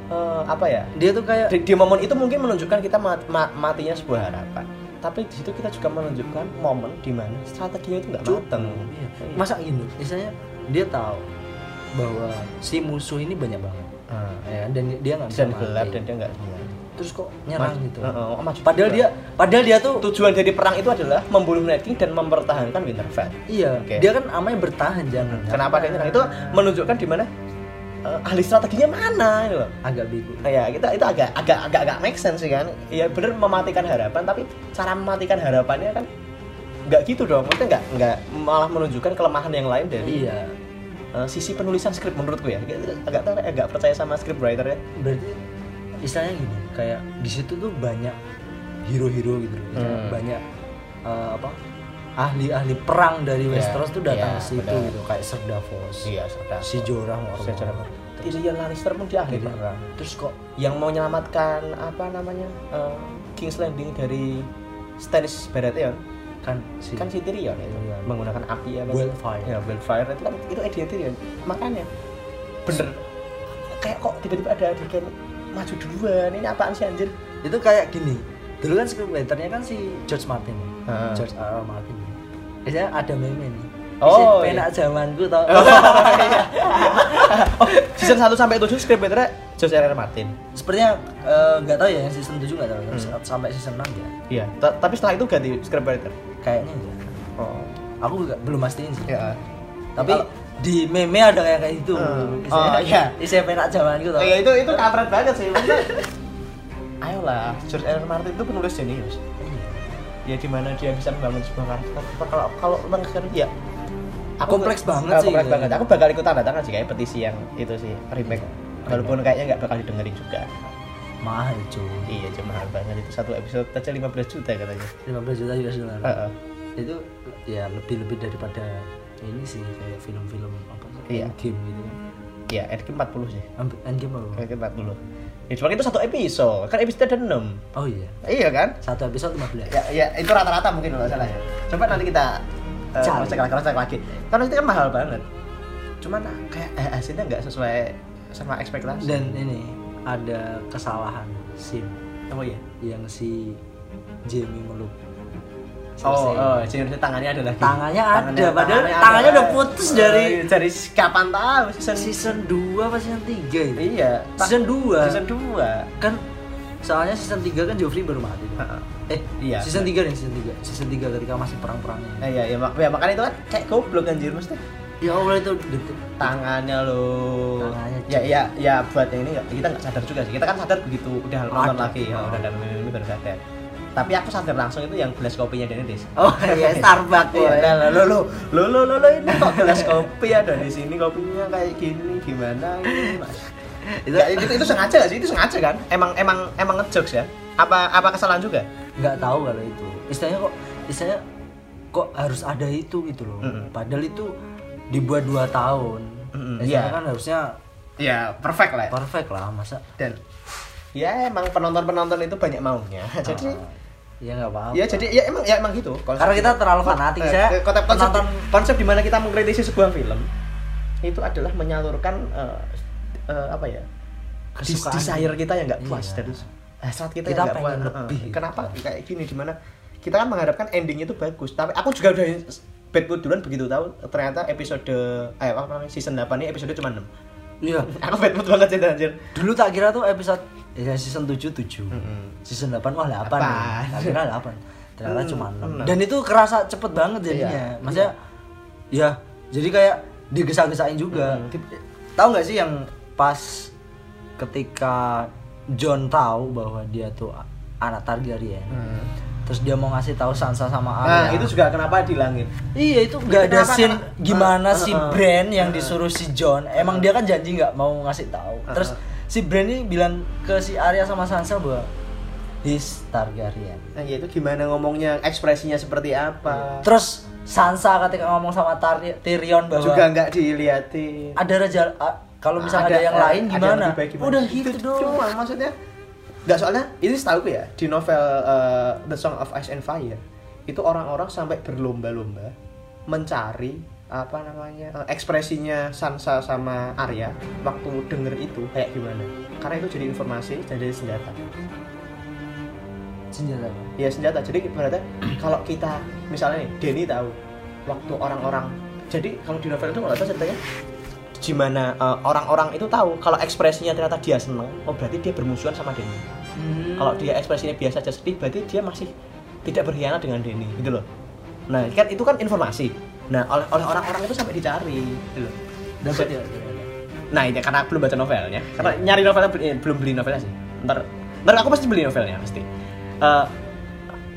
Speaker 1: eh, apa ya
Speaker 2: dia tuh kayak
Speaker 1: di, di momen itu mungkin menunjukkan kita mat- ma- matinya sebuah harapan tapi di situ kita juga menunjukkan momen di mana strateginya itu nggak mateng
Speaker 2: Iya. masa gini misalnya dia tahu bahwa si musuh ini banyak banget
Speaker 1: Ah.
Speaker 2: ya, dan dia nggak bisa
Speaker 1: dan
Speaker 2: mati.
Speaker 1: gelap dan dia nggak bisa
Speaker 2: terus kok nyerang
Speaker 1: Maju-
Speaker 2: gitu
Speaker 1: Heeh, oh, maju
Speaker 2: padahal
Speaker 1: juga.
Speaker 2: dia padahal dia tuh
Speaker 1: tujuan dari perang itu adalah membunuh Night King dan mempertahankan Winterfell
Speaker 2: iya
Speaker 1: Oke.
Speaker 2: dia kan amanya bertahan jangan
Speaker 1: kenapa dia nyerang itu menunjukkan di mana eh, ahli strateginya mana gitu loh
Speaker 2: agak bego
Speaker 1: Nah, ya kita itu agak agak agak agak make sense sih kan ya bener mematikan harapan tapi cara mematikan harapannya kan nggak gitu dong maksudnya nggak nggak malah menunjukkan kelemahan yang lain dari
Speaker 2: iya
Speaker 1: Eh, sisi penulisan skrip menurutku ya agak agak agak percaya sama script writer ya
Speaker 2: berarti istilahnya gini kayak di situ tuh banyak hero-hero gitu loh. Kayak
Speaker 1: Hmm.
Speaker 2: banyak eh, apa ahli-ahli perang dari
Speaker 1: Iya,
Speaker 2: Westeros tuh datang
Speaker 1: iya,
Speaker 2: ke situ
Speaker 1: benar.
Speaker 2: gitu kayak Ser Davos
Speaker 1: iya sudah
Speaker 2: si Jorah
Speaker 1: secara
Speaker 2: Mormont
Speaker 1: Tyrion Lannister pun dia ahli
Speaker 2: Tyrion.
Speaker 1: perang
Speaker 2: gitu. terus kok
Speaker 1: yang mau menyelamatkan apa namanya eh, King's Landing dari Stannis Baratheon
Speaker 2: kan si
Speaker 1: kan si Tyrion itu
Speaker 2: Iya.
Speaker 1: menggunakan api apa sih?
Speaker 2: Wildfire.
Speaker 1: ya Wildfire itu kan itu idea Tyrion makanya bener kayak kok tiba-tiba ada adegan maju duluan ini apaan sih anjir
Speaker 2: itu kayak gini dulu kan scriptwriternya kan si George Martin ya.
Speaker 1: Heeh.
Speaker 2: George R. R. Martin ya. biasanya ada meme nih
Speaker 1: Oh, iya.
Speaker 2: Isi penak zamanku tau
Speaker 1: oh season 1 sampai 7 script writernya George R. R. Martin
Speaker 2: sepertinya eh, nggak tahu ya yang season 7 nggak tahu
Speaker 1: Hmm.
Speaker 2: ya. sampai season 6 ya
Speaker 1: Iya, ta- tapi setelah itu ganti script writer.
Speaker 2: kayaknya ya
Speaker 1: Oh.
Speaker 2: aku nggak- belum mastiin sih
Speaker 1: Ya.
Speaker 2: tapi
Speaker 1: Kalau-
Speaker 2: di meme ada kayak gitu. kayak itu
Speaker 1: Hmm.
Speaker 2: Isinya-
Speaker 1: Oh, iya.
Speaker 2: isinya penak zamanku tau
Speaker 1: Kayak Iya, itu itu kampret banget sih. Maksudnya, Ayolah, George R. R. Martin itu penulis jenius. Ya di mana dia bisa membangun sebuah karakter. Tapi Kalau kalau memang sekarang ya
Speaker 2: Kompleks banget
Speaker 1: Ah,
Speaker 2: sih,
Speaker 1: Kompleks
Speaker 2: gitu.
Speaker 1: banget. Aku bakal ikut tanda tangan sih kayak petisi yang itu sih remake. Walaupun kayaknya nggak bakal didengerin juga.
Speaker 2: mahal cuy
Speaker 1: Iya, cuma mahal banget itu satu episode aja 15 juta katanya.
Speaker 2: 15 juta US dollar
Speaker 1: Heeh.
Speaker 2: itu ya lebih lebih daripada ini sih kayak film-film apa sih
Speaker 1: Iya.
Speaker 2: game gitu kan
Speaker 1: Iya, Endgame 40 sih.
Speaker 2: Ambil- Endgame apa?
Speaker 1: Endgame 40. Ya cuma itu satu episode. Kan episode ada 6.
Speaker 2: Oh iya
Speaker 1: Iya kan?
Speaker 2: satu episode 15
Speaker 1: ya, ya itu rata-rata mungkin kalau nggak salah ya coba nanti kita eh,
Speaker 2: Cari.
Speaker 1: cross-check lagi cross-check lagi karena itu kan mahal banget cuman ah, kayak eh, hasilnya nggak sesuai sama ekspektasi
Speaker 2: dan ini ada kesalahan sim
Speaker 1: oh iya
Speaker 2: yang si Jamie meluk
Speaker 1: Oh, oh, jersey tangannya ada lagi.
Speaker 2: Tangannya ada, padahal tangannya udah putus
Speaker 1: Eh,
Speaker 2: dari-
Speaker 1: dari kapan tahu season
Speaker 2: season 2 apa season 3 itu?
Speaker 1: Iya, ta-
Speaker 2: Season 2.
Speaker 1: Season 2.
Speaker 2: Kan soalnya season 3 kan Joffrey baru mati.
Speaker 1: Heeh.
Speaker 2: Eh,
Speaker 1: Iya.
Speaker 2: Season 3 nih, season 3. Season 3 ketika masih perang-perangnya.
Speaker 1: Eh, iya, iya, mak ya, makanya itu kan kayak goblok anjir mesti
Speaker 2: Ya Allah itu detik.
Speaker 1: tangannya lo
Speaker 2: Tangannya,
Speaker 1: ya
Speaker 2: cuy.
Speaker 1: ya ya buat yang ini nggak- kita nggak sadar juga sih kita kan sadar begitu udah nonton
Speaker 2: Ada.
Speaker 1: lagi ya, udah dalam ini, ini baru sadar tapi aku sadar langsung itu yang gelas kopinya Dennis
Speaker 2: Oh, iya, Starbucks,
Speaker 1: iya
Speaker 2: boy.
Speaker 1: lah, lah, lo lo lo lo lo lo ini kok gelas kopi ada di sini kopinya kayak gini gimana ini Mas?
Speaker 2: Itu
Speaker 1: Nggak, itu itu sengaja nggak sih itu sengaja kan emang emang emang ngejokes ya apa apa kesalahan juga
Speaker 2: nggak tahu kalau itu. Istilahnya kok istilahnya kok harus ada itu gitu loh.
Speaker 1: Mm-mm.
Speaker 2: Padahal itu dibuat 2 tahun.
Speaker 1: Mm-mm,
Speaker 2: Istilahnya
Speaker 1: iya.
Speaker 2: kan harusnya
Speaker 1: ya perfect lah ya.
Speaker 2: perfect lah masa
Speaker 1: dan ya emang penonton penonton itu banyak maunya jadi
Speaker 2: Ah, ya nggak apa-apa.
Speaker 1: ya jadi ya emang ya emang gitu konsep-
Speaker 2: Karena kita terlalu fanatik,
Speaker 1: Eh,
Speaker 2: saya
Speaker 1: konsep konsep,
Speaker 2: penonton-
Speaker 1: konsep di mana kita mengkritisi sebuah film itu adalah menyalurkan eh, eh, apa ya dis-
Speaker 2: Kesukaan.
Speaker 1: desire kita yang nggak puas
Speaker 2: Iya.
Speaker 1: dari hasrat kita,
Speaker 2: Kita
Speaker 1: yang nggak puas
Speaker 2: pengen lebih.
Speaker 1: Eh, kenapa kayak gini di mana kita kan mengharapkan ending itu bagus tapi aku juga udah Bad duluan begitu tahu ternyata episode eh apa namanya season 8 ini episode cuma 6
Speaker 2: Iya.
Speaker 1: aku bad mood banget sih anjir
Speaker 2: Dulu tak kira tuh episode ya season 7 7.
Speaker 1: Mm-mm.
Speaker 2: Season 8 wah 8.
Speaker 1: Delapan.
Speaker 2: nih. Tak kira 8. Ternyata
Speaker 1: Hmm,
Speaker 2: cuma
Speaker 1: enam.
Speaker 2: 6. Dan itu kerasa cepet banget jadinya.
Speaker 1: Iya.
Speaker 2: Maksudnya ya jadi kayak digesa-gesain juga. Di- Tahu nggak sih yang pas ketika John tahu bahwa dia tuh a- anak Targaryen. Terus dia mau ngasih tahu Sansa sama
Speaker 1: Mm. nah
Speaker 2: Arya.
Speaker 1: itu juga kenapa di langit
Speaker 2: Iya itu nggak ada
Speaker 1: Kenapa,
Speaker 2: scene
Speaker 1: kenapa?
Speaker 2: gimana
Speaker 1: Ah,
Speaker 2: si
Speaker 1: ah, ah.
Speaker 2: Brand yang
Speaker 1: Ah.
Speaker 2: disuruh si John. Emang dia kan janji nggak mau ngasih tahu.
Speaker 1: Ah,
Speaker 2: Terus
Speaker 1: ah.
Speaker 2: si Brand ini bilang ke si Arya sama Sansa bahwa he's Targaryen.
Speaker 1: Nah, ya itu gimana ngomongnya, ekspresinya seperti apa.
Speaker 2: Terus Sansa ketika ngomong sama Tar- Tyrion bahwa
Speaker 1: juga nggak diliatin.
Speaker 2: ada raja ah, kalau misalnya ada, yang lain
Speaker 1: ada
Speaker 2: gimana?
Speaker 1: lebih baik
Speaker 2: Udah gitu
Speaker 1: Cuma
Speaker 2: doang.
Speaker 1: maksudnya nggak soalnya ini setahu ya di novel eh, The Song of Ice and Fire itu orang-orang sampai berlomba-lomba mencari apa namanya eh, ekspresinya Sansa sama Arya waktu denger itu kayak gimana karena itu jadi informasi dan jadi senjata
Speaker 2: Senjata.
Speaker 1: ya senjata jadi ibaratnya kalau kita misalnya nih Denny tahu waktu orang-orang jadi kalau di novel itu nggak tahu ceritanya gimana eh, orang-orang itu tahu kalau ekspresinya ternyata dia seneng oh berarti dia bermusuhan sama Denny
Speaker 2: Hmm.
Speaker 1: kalau dia ekspresinya biasa aja sedih berarti dia masih tidak berkhianat dengan Denny gitu loh nah kan itu kan informasi nah oleh oleh orang-orang itu sampai dicari gitu loh
Speaker 2: dapat ya.
Speaker 1: nah ini karena belum baca novelnya karena nyari novelnya beli- eh, belum beli novelnya sih ntar ntar aku pasti beli novelnya pasti Eh,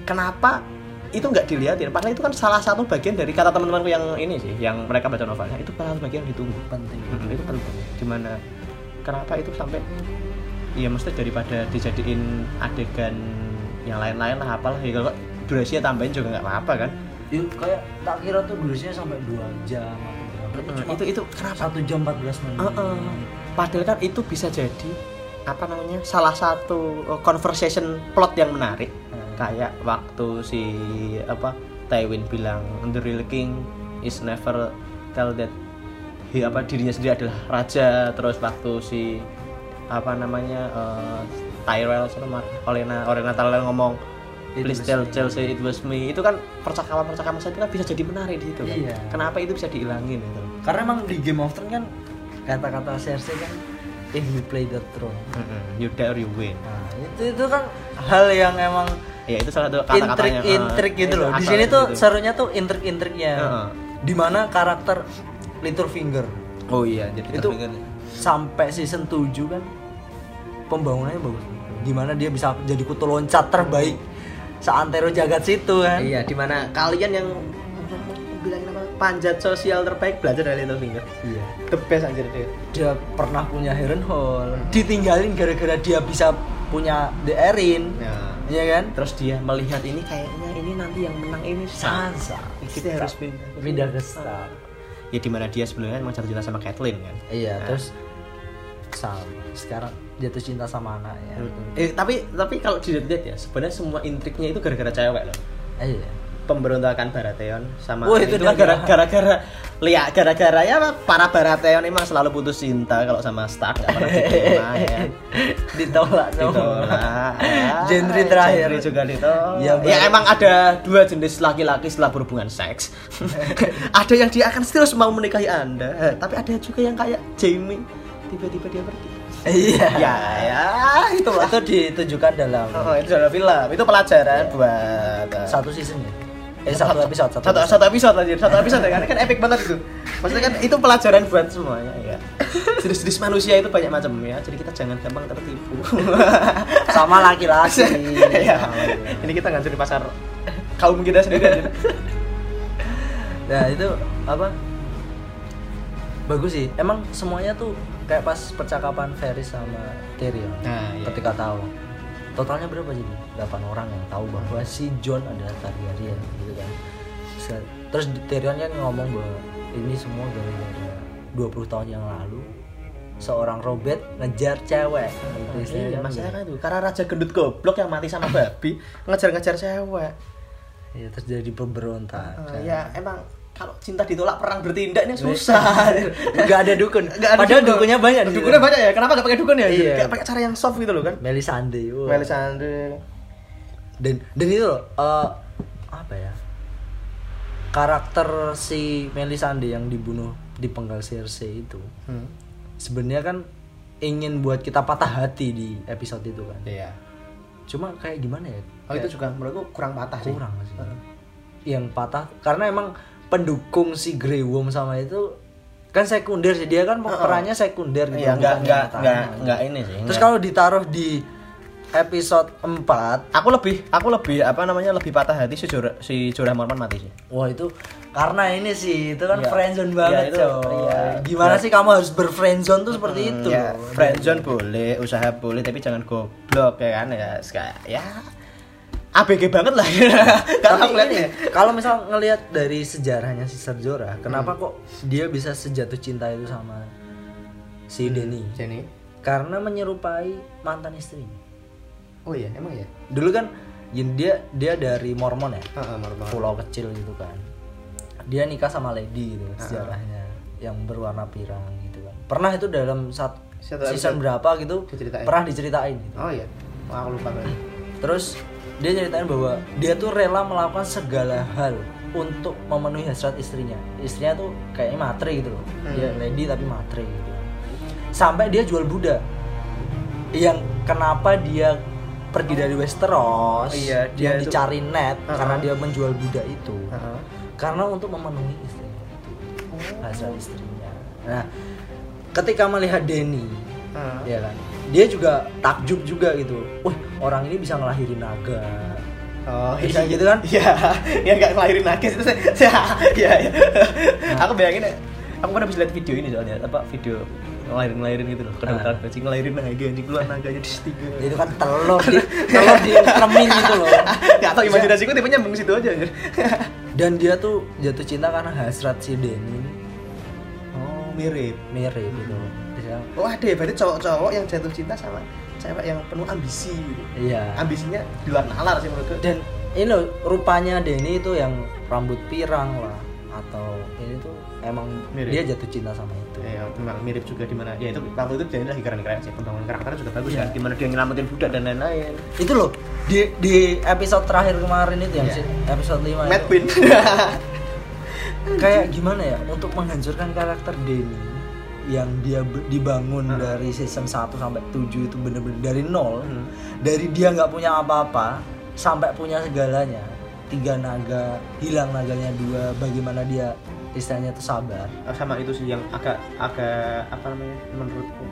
Speaker 1: kenapa itu nggak dilihatin padahal itu kan salah satu bagian dari kata teman-temanku yang ini sih yang mereka baca novelnya itu salah satu bagian yang ditunggu
Speaker 2: Penting.
Speaker 1: Mhm, itu penting dimana kenapa itu sampai ya mesti daripada dijadiin adegan yang lain-lain lah apalah ya kalau durasinya tambahin juga nggak apa-apa kan
Speaker 2: Yuk kayak tak kira tuh durasinya sampai 2 jam atau berapa. Cuma
Speaker 1: Ah, itu Ah, itu kenapa
Speaker 2: satu jam 14 menit.
Speaker 1: Heeh. Padahal kan itu bisa jadi apa namanya salah satu uh, conversation plot yang menarik
Speaker 2: Hmm.
Speaker 1: kayak waktu si apa Tywin bilang the real king is never tell that he apa dirinya sendiri adalah raja terus waktu si apa namanya uh, Tyrell sama Olena Olena Tyrell ngomong
Speaker 2: It
Speaker 1: please
Speaker 2: was
Speaker 1: tell
Speaker 2: me."
Speaker 1: Chelsea it was me itu kan percakapan percakapan saja kan bisa jadi menarik di situ kan.
Speaker 2: Iya.
Speaker 1: kenapa itu bisa dihilangin gitu
Speaker 2: Karena emang di Game of Thrones kan kata-kata Cersei kan if you play the throne.
Speaker 1: you dare you win
Speaker 2: Nah, itu itu kan hal yang emang
Speaker 1: ya itu salah satu kata-katanya
Speaker 2: intrik-intrik
Speaker 1: eh,
Speaker 2: gitu
Speaker 1: itu
Speaker 2: loh. Di
Speaker 1: asal
Speaker 2: sini tuh
Speaker 1: gitu.
Speaker 2: serunya tuh intrik-intriknya.
Speaker 1: Heeh.
Speaker 2: Dimana karakter Littlefinger
Speaker 1: oh iya jadi
Speaker 2: itu sampai season 7 kan pembangunannya bagus. Dimana dia bisa jadi kutu loncat terbaik seantero jagat situ kan.
Speaker 1: iya dimana kalian yang bilangin apa panjat sosial terbaik belajar dari Littlefinger
Speaker 2: Iya.
Speaker 1: the best anjir dia
Speaker 2: Dia pernah punya Heron Hall, ditinggalin gara-gara dia bisa punya The Erin.
Speaker 1: ya.
Speaker 2: Iya kan?
Speaker 1: terus dia melihat ini kayaknya ini nanti yang menang ini Stark.
Speaker 2: Sansa.
Speaker 1: kita harus pindah
Speaker 2: pindah ke Stark.
Speaker 1: ya dimana dia sebelumnya emang jatuh cinta sama Catelyn kan Nah.
Speaker 2: Iya, terus Sam sekarang jatuh cinta sama ya. anaknya.
Speaker 1: Hmm. eh, tapi tapi kalau dilihat-lihat ya sebenarnya semua intriknya itu gara-gara cewek loh
Speaker 2: Eh, Iya.
Speaker 1: pemberontakan Baratheon sama
Speaker 2: Wah, itu dia.
Speaker 1: gara- gara-gara lihat gara-gara ya para Baratheon emang selalu putus cinta kalau sama Stark nggak pernah diterima ya.
Speaker 2: ditolak sama
Speaker 1: Ditolak.
Speaker 2: genre terakhir
Speaker 1: Ah, Genre juga ditolak.
Speaker 2: ya,
Speaker 1: Ya,
Speaker 2: ya
Speaker 1: emang ada dua jenis laki-laki setelah berhubungan seks. ada yang dia akan terus mau menikahi Anda, tapi ada juga yang kayak Jamie tiba-tiba dia pergi.
Speaker 2: iya
Speaker 1: ya, ya, itu lah.
Speaker 2: itu ditunjukkan dalam
Speaker 1: Oh, itu adalah film. Itu pelajaran buat uh,
Speaker 2: satu season ya eh satu episode
Speaker 1: satu,
Speaker 2: episode.
Speaker 1: satu episode aja satu episode kan kan epic banget itu maksudnya kan itu pelajaran buat semuanya ya jenis-jenis manusia itu banyak macam ya jadi kita jangan gampang tertipu
Speaker 2: sama laki-laki
Speaker 1: ya.
Speaker 2: Sama laki-laki.
Speaker 1: ini kita ngancurin pasar kaum kita sendiri aja
Speaker 2: Nah itu apa? Bagus sih. Emang semuanya tuh kayak pas percakapan Ferris sama Tyrion.
Speaker 1: Nah, iya.
Speaker 2: Ketika tahu. Totalnya berapa jadi? 8 orang yang tahu bahwa si John adalah Targaryen gitu kan. Se- Terus Tyrion kan ngomong bahwa ini semua gara-gara 20 tahun yang lalu seorang Robert ngejar cewek. Gitu, istilahnya
Speaker 1: Iya,
Speaker 2: kan
Speaker 1: masalah
Speaker 2: gitu.
Speaker 1: kan itu karena raja gendut goblok yang mati sama babi ngejar-ngejar cewek
Speaker 2: Ya, terjadi pemberontakan.
Speaker 1: Eh, ya emang kalau cinta ditolak perang bertindak ini susah
Speaker 2: Gak ada dukun.
Speaker 1: Nggak ada
Speaker 2: Padahal
Speaker 1: dukun.
Speaker 2: dukunnya banyak. di
Speaker 1: dukunnya
Speaker 2: situ.
Speaker 1: banyak ya kenapa gak pakai dukun ya
Speaker 2: Iya.
Speaker 1: Kayak pakai cara yang soft gitu loh kan
Speaker 2: Melisande. wah.
Speaker 1: Melisandre
Speaker 2: dan dan itu loh eh, apa ya karakter si Melisande yang dibunuh di penggal Cersei itu
Speaker 1: Hmm.
Speaker 2: sebenarnya kan ingin buat kita patah hati di episode itu kan
Speaker 1: Iya.
Speaker 2: cuma kayak gimana ya
Speaker 1: Oh itu juga menurutku kurang patah sih.
Speaker 2: kurang sih yang patah karena emang pendukung si Grey Worm sama itu kan sekunder sih dia kan perannya sekunder gitu
Speaker 1: Iya, nggak
Speaker 2: bukan
Speaker 1: nggak
Speaker 2: yang utama.
Speaker 1: nggak nggak ini sih.
Speaker 2: terus
Speaker 1: nggak-
Speaker 2: kalau ditaruh di episode 4
Speaker 1: aku lebih aku lebih apa namanya lebih patah hati si Jorah si Jorah Mormon mati sih.
Speaker 2: Wah itu karena ini sih itu kan
Speaker 1: Iya.
Speaker 2: friendzone
Speaker 1: Iya,
Speaker 2: banget
Speaker 1: itu,
Speaker 2: coy.
Speaker 1: iya.
Speaker 2: Gimana sih kamu harus berfriendzone tuh seperti itu?
Speaker 1: Ya,
Speaker 2: loh.
Speaker 1: friendzone boleh, usaha boleh, tapi jangan goblok ya kan ya kayak ya ABG banget lah. Kalau
Speaker 2: Tapi
Speaker 1: aku
Speaker 2: ini,
Speaker 1: lihatnya.
Speaker 2: kalau misal ngelihat dari sejarahnya si Serjora, kenapa
Speaker 1: Hmm.
Speaker 2: kok dia bisa sejatuh cinta itu sama si
Speaker 1: Hmm.
Speaker 2: Denny?
Speaker 1: Jenny.
Speaker 2: Karena menyerupai mantan istrinya.
Speaker 1: Oh iya, emang ya.
Speaker 2: Dulu kan ya dia dia dari Mormon ya,
Speaker 1: Heeh, Mormon.
Speaker 2: pulau kecil gitu kan. Dia nikah sama
Speaker 1: Ah.
Speaker 2: lady gitu sejarahnya yang berwarna pirang gitu kan. Pernah itu dalam satu
Speaker 1: Satu
Speaker 2: season berapa gitu
Speaker 1: Diceritain.
Speaker 2: pernah diceritain gitu.
Speaker 1: Oh iya. Wah, aku lupa berarti.
Speaker 2: Terus dia ceritain bahwa dia tuh rela melakukan segala hal untuk memenuhi hasrat istrinya. Istrinya tuh kayaknya matre gitu loh.
Speaker 1: Hmm.
Speaker 2: Dia lady tapi matre gitu. Sampai dia jual Buddha. Yang kenapa dia pergi dari Westeros,
Speaker 1: Iya,
Speaker 2: dia
Speaker 1: dia
Speaker 2: yang
Speaker 1: itu-
Speaker 2: dicari net
Speaker 1: Uh-uh.
Speaker 2: karena dia menjual Buddha itu.
Speaker 1: Heeh.
Speaker 2: Karena untuk memenuhi istrinya itu. Hasrat istrinya. Nah, ketika melihat Denny
Speaker 1: Heeh.
Speaker 2: ya kan dia juga takjub juga gitu wah orang ini bisa ngelahirin naga
Speaker 1: Oh,
Speaker 2: Bisa gitu kan?
Speaker 1: Iya, ya nggak ngelahirin nakes itu saya, saya- iya, iya. Aku bayangin, ya, aku pernah bisa lihat video ini soalnya, apa video ngelahirin ngelahirin gitu loh, kedokteran nah. anjing ngelahirin naga, anjing keluar naganya di tiga.
Speaker 2: itu kan telur di, telur diutremin gitu loh
Speaker 1: Gak tau imajinasiku tipe nyambung situ aja anjir.
Speaker 2: dan dia tuh jatuh cinta karena hasrat si Denny ini
Speaker 1: Oh mirip.
Speaker 2: mirip gitu Bisa,
Speaker 1: Oh ada ya, berarti cowok-cowok yang jatuh cinta sama cewek yang penuh ambisi gitu.
Speaker 2: iya
Speaker 1: Ambisinya di luar nalar sih menurutku.
Speaker 2: dan ini loh, rupanya Denny itu yang rambut pirang lah atau ini tuh emang
Speaker 1: Mirip.
Speaker 2: dia jatuh cinta sama itu
Speaker 1: Ya, memang mirip juga di mana ya itu waktu itu dia lagi keren-keren sih pembangunan karakternya juga bagus kan di mana dia nyelamatin budak dan lain-lain
Speaker 2: itu loh di di episode terakhir kemarin itu yang
Speaker 1: Iya.
Speaker 2: si- episode 5
Speaker 1: Mad Queen
Speaker 2: kayak gimana ya untuk menghancurkan karakter Denny yang dia be- dibangun dari season 1 sampai 7 itu bener-bener dari nol
Speaker 1: Hmm.
Speaker 2: dari dia nggak punya apa-apa sampai punya segalanya tiga naga hilang naganya dua bagaimana dia istilahnya tuh sabar
Speaker 1: eh, sama itu sih yang agak agak apa namanya menurutku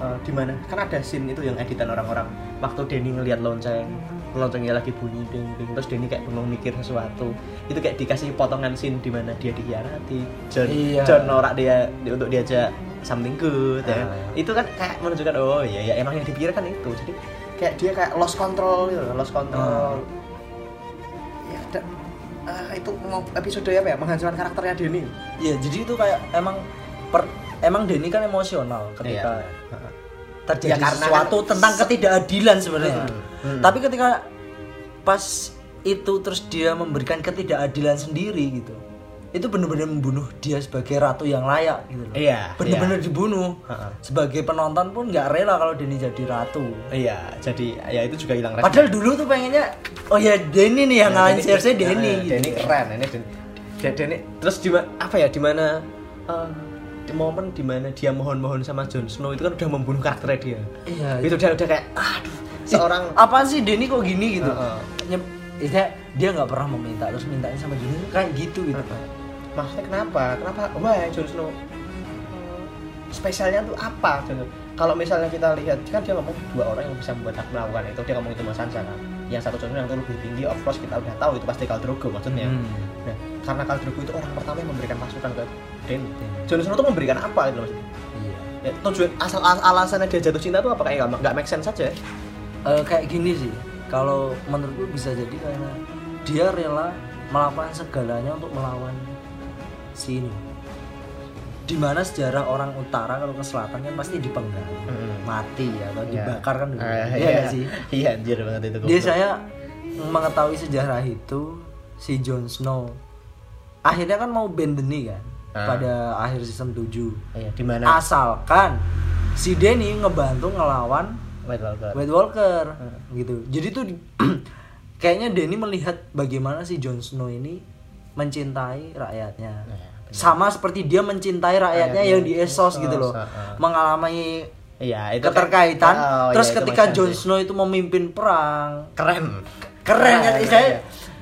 Speaker 1: eh, di mana kan ada scene itu yang editan orang-orang waktu Denny ngelihat lonceng loncengnya lagi bunyi ding ding terus Denny kayak bengong mikir sesuatu itu kayak dikasih potongan scene di mana dia dikhianati John
Speaker 2: Iya.
Speaker 1: John norak dia di- untuk diajak something good ya.
Speaker 2: Ah.
Speaker 1: itu kan kayak menunjukkan oh iya ya emang yang dipikirkan itu jadi kayak dia kayak lost control gitu lost control
Speaker 2: Ah.
Speaker 1: ya dan eh, itu mau episode apa ya menghancurkan karakternya Denny
Speaker 2: ya jadi itu kayak emang per, emang Denny kan emosional ketika
Speaker 1: Heeh. Ya,
Speaker 2: terjadi
Speaker 1: karena
Speaker 2: sesuatu
Speaker 1: kan
Speaker 2: tentang
Speaker 1: se-
Speaker 2: ketidakadilan sebenarnya.
Speaker 1: Hmm, hmm.
Speaker 2: Tapi ketika pas itu terus dia memberikan ketidakadilan sendiri gitu itu bener-bener membunuh dia sebagai ratu yang layak gitu loh
Speaker 1: Iya,
Speaker 2: bener-bener
Speaker 1: iya.
Speaker 2: dibunuh
Speaker 1: Ha-ha.
Speaker 2: sebagai penonton pun nggak rela kalau Denny jadi ratu
Speaker 1: iya jadi ya itu juga hilang respect.
Speaker 2: padahal dulu tuh pengennya oh ya Denny nih yang ngalahin CRC Denny
Speaker 1: Nah,
Speaker 2: gitu
Speaker 1: Denny keren ini Den- Den- Denny terus di ma- apa ya di mana eh, di momen di mana dia mohon-mohon sama Jon Snow itu kan udah membunuh karakternya dia
Speaker 2: Iya,
Speaker 1: itu dia udah kayak aduh seorang
Speaker 2: apa "Eh, sih Denny kok gini gitu
Speaker 1: Heeh.
Speaker 2: Nyem- Istilahnya dia nggak pernah meminta terus mintanya sama Denny tuh kayak gitu gitu
Speaker 1: maksudnya kenapa kenapa wah Jon Snow eh, spesialnya tuh apa Jon Snow? kalau misalnya kita lihat kan dia ngomong dua orang yang bisa membuat aku melakukan itu dia ngomong itu Mas Sansa kan yang satu Jon Snow yang itu lebih tinggi of course kita udah tahu itu pasti Khal Drogo maksudnya
Speaker 2: Hmm.
Speaker 1: Nah, karena Khal Drogo itu orang pertama yang memberikan masukan ke Dany.
Speaker 2: Dany.
Speaker 1: Jon Snow itu memberikan apa gitu loh maksudnya?
Speaker 2: iya
Speaker 1: Ya, tujuan asal as- alasannya dia jatuh cinta itu apa kayak nggak- nggak make sense saja?
Speaker 2: Eh, kayak gini sih kalau menurutku bisa jadi karena dia rela melakukan segalanya untuk melawan si ini dimana sejarah orang utara kalau ke selatan kan pasti dipenggal
Speaker 1: Hmm.
Speaker 2: mati atau dibakar kan dulu
Speaker 1: Ah,
Speaker 2: Iya
Speaker 1: iya
Speaker 2: nggak sih
Speaker 1: Iya anjir banget itu.
Speaker 2: dia
Speaker 1: goblok.
Speaker 2: saya mengetahui sejarah itu si Jon Snow akhirnya kan mau band Denny kan
Speaker 1: Ah.
Speaker 2: pada akhir season 7
Speaker 1: Iya, di mana?
Speaker 2: asalkan si Denny ngebantu ngelawan
Speaker 1: White Walker.
Speaker 2: White Walker gitu jadi tuh di- kayaknya Denny melihat bagaimana si Jon Snow ini mencintai rakyatnya
Speaker 1: Iya, benar.
Speaker 2: sama seperti dia mencintai
Speaker 1: Rakyatnya
Speaker 2: rakyatnya yang di Essos gitu
Speaker 1: Essos,
Speaker 2: loh
Speaker 1: ah, ah.
Speaker 2: mengalami
Speaker 1: Iya, itu kayak-
Speaker 2: keterkaitan
Speaker 1: Oh,
Speaker 2: terus
Speaker 1: iya, itu
Speaker 2: ketika
Speaker 1: make sense
Speaker 2: Jon
Speaker 1: sih.
Speaker 2: Snow itu memimpin perang
Speaker 1: keren.
Speaker 2: keren kan istilahnya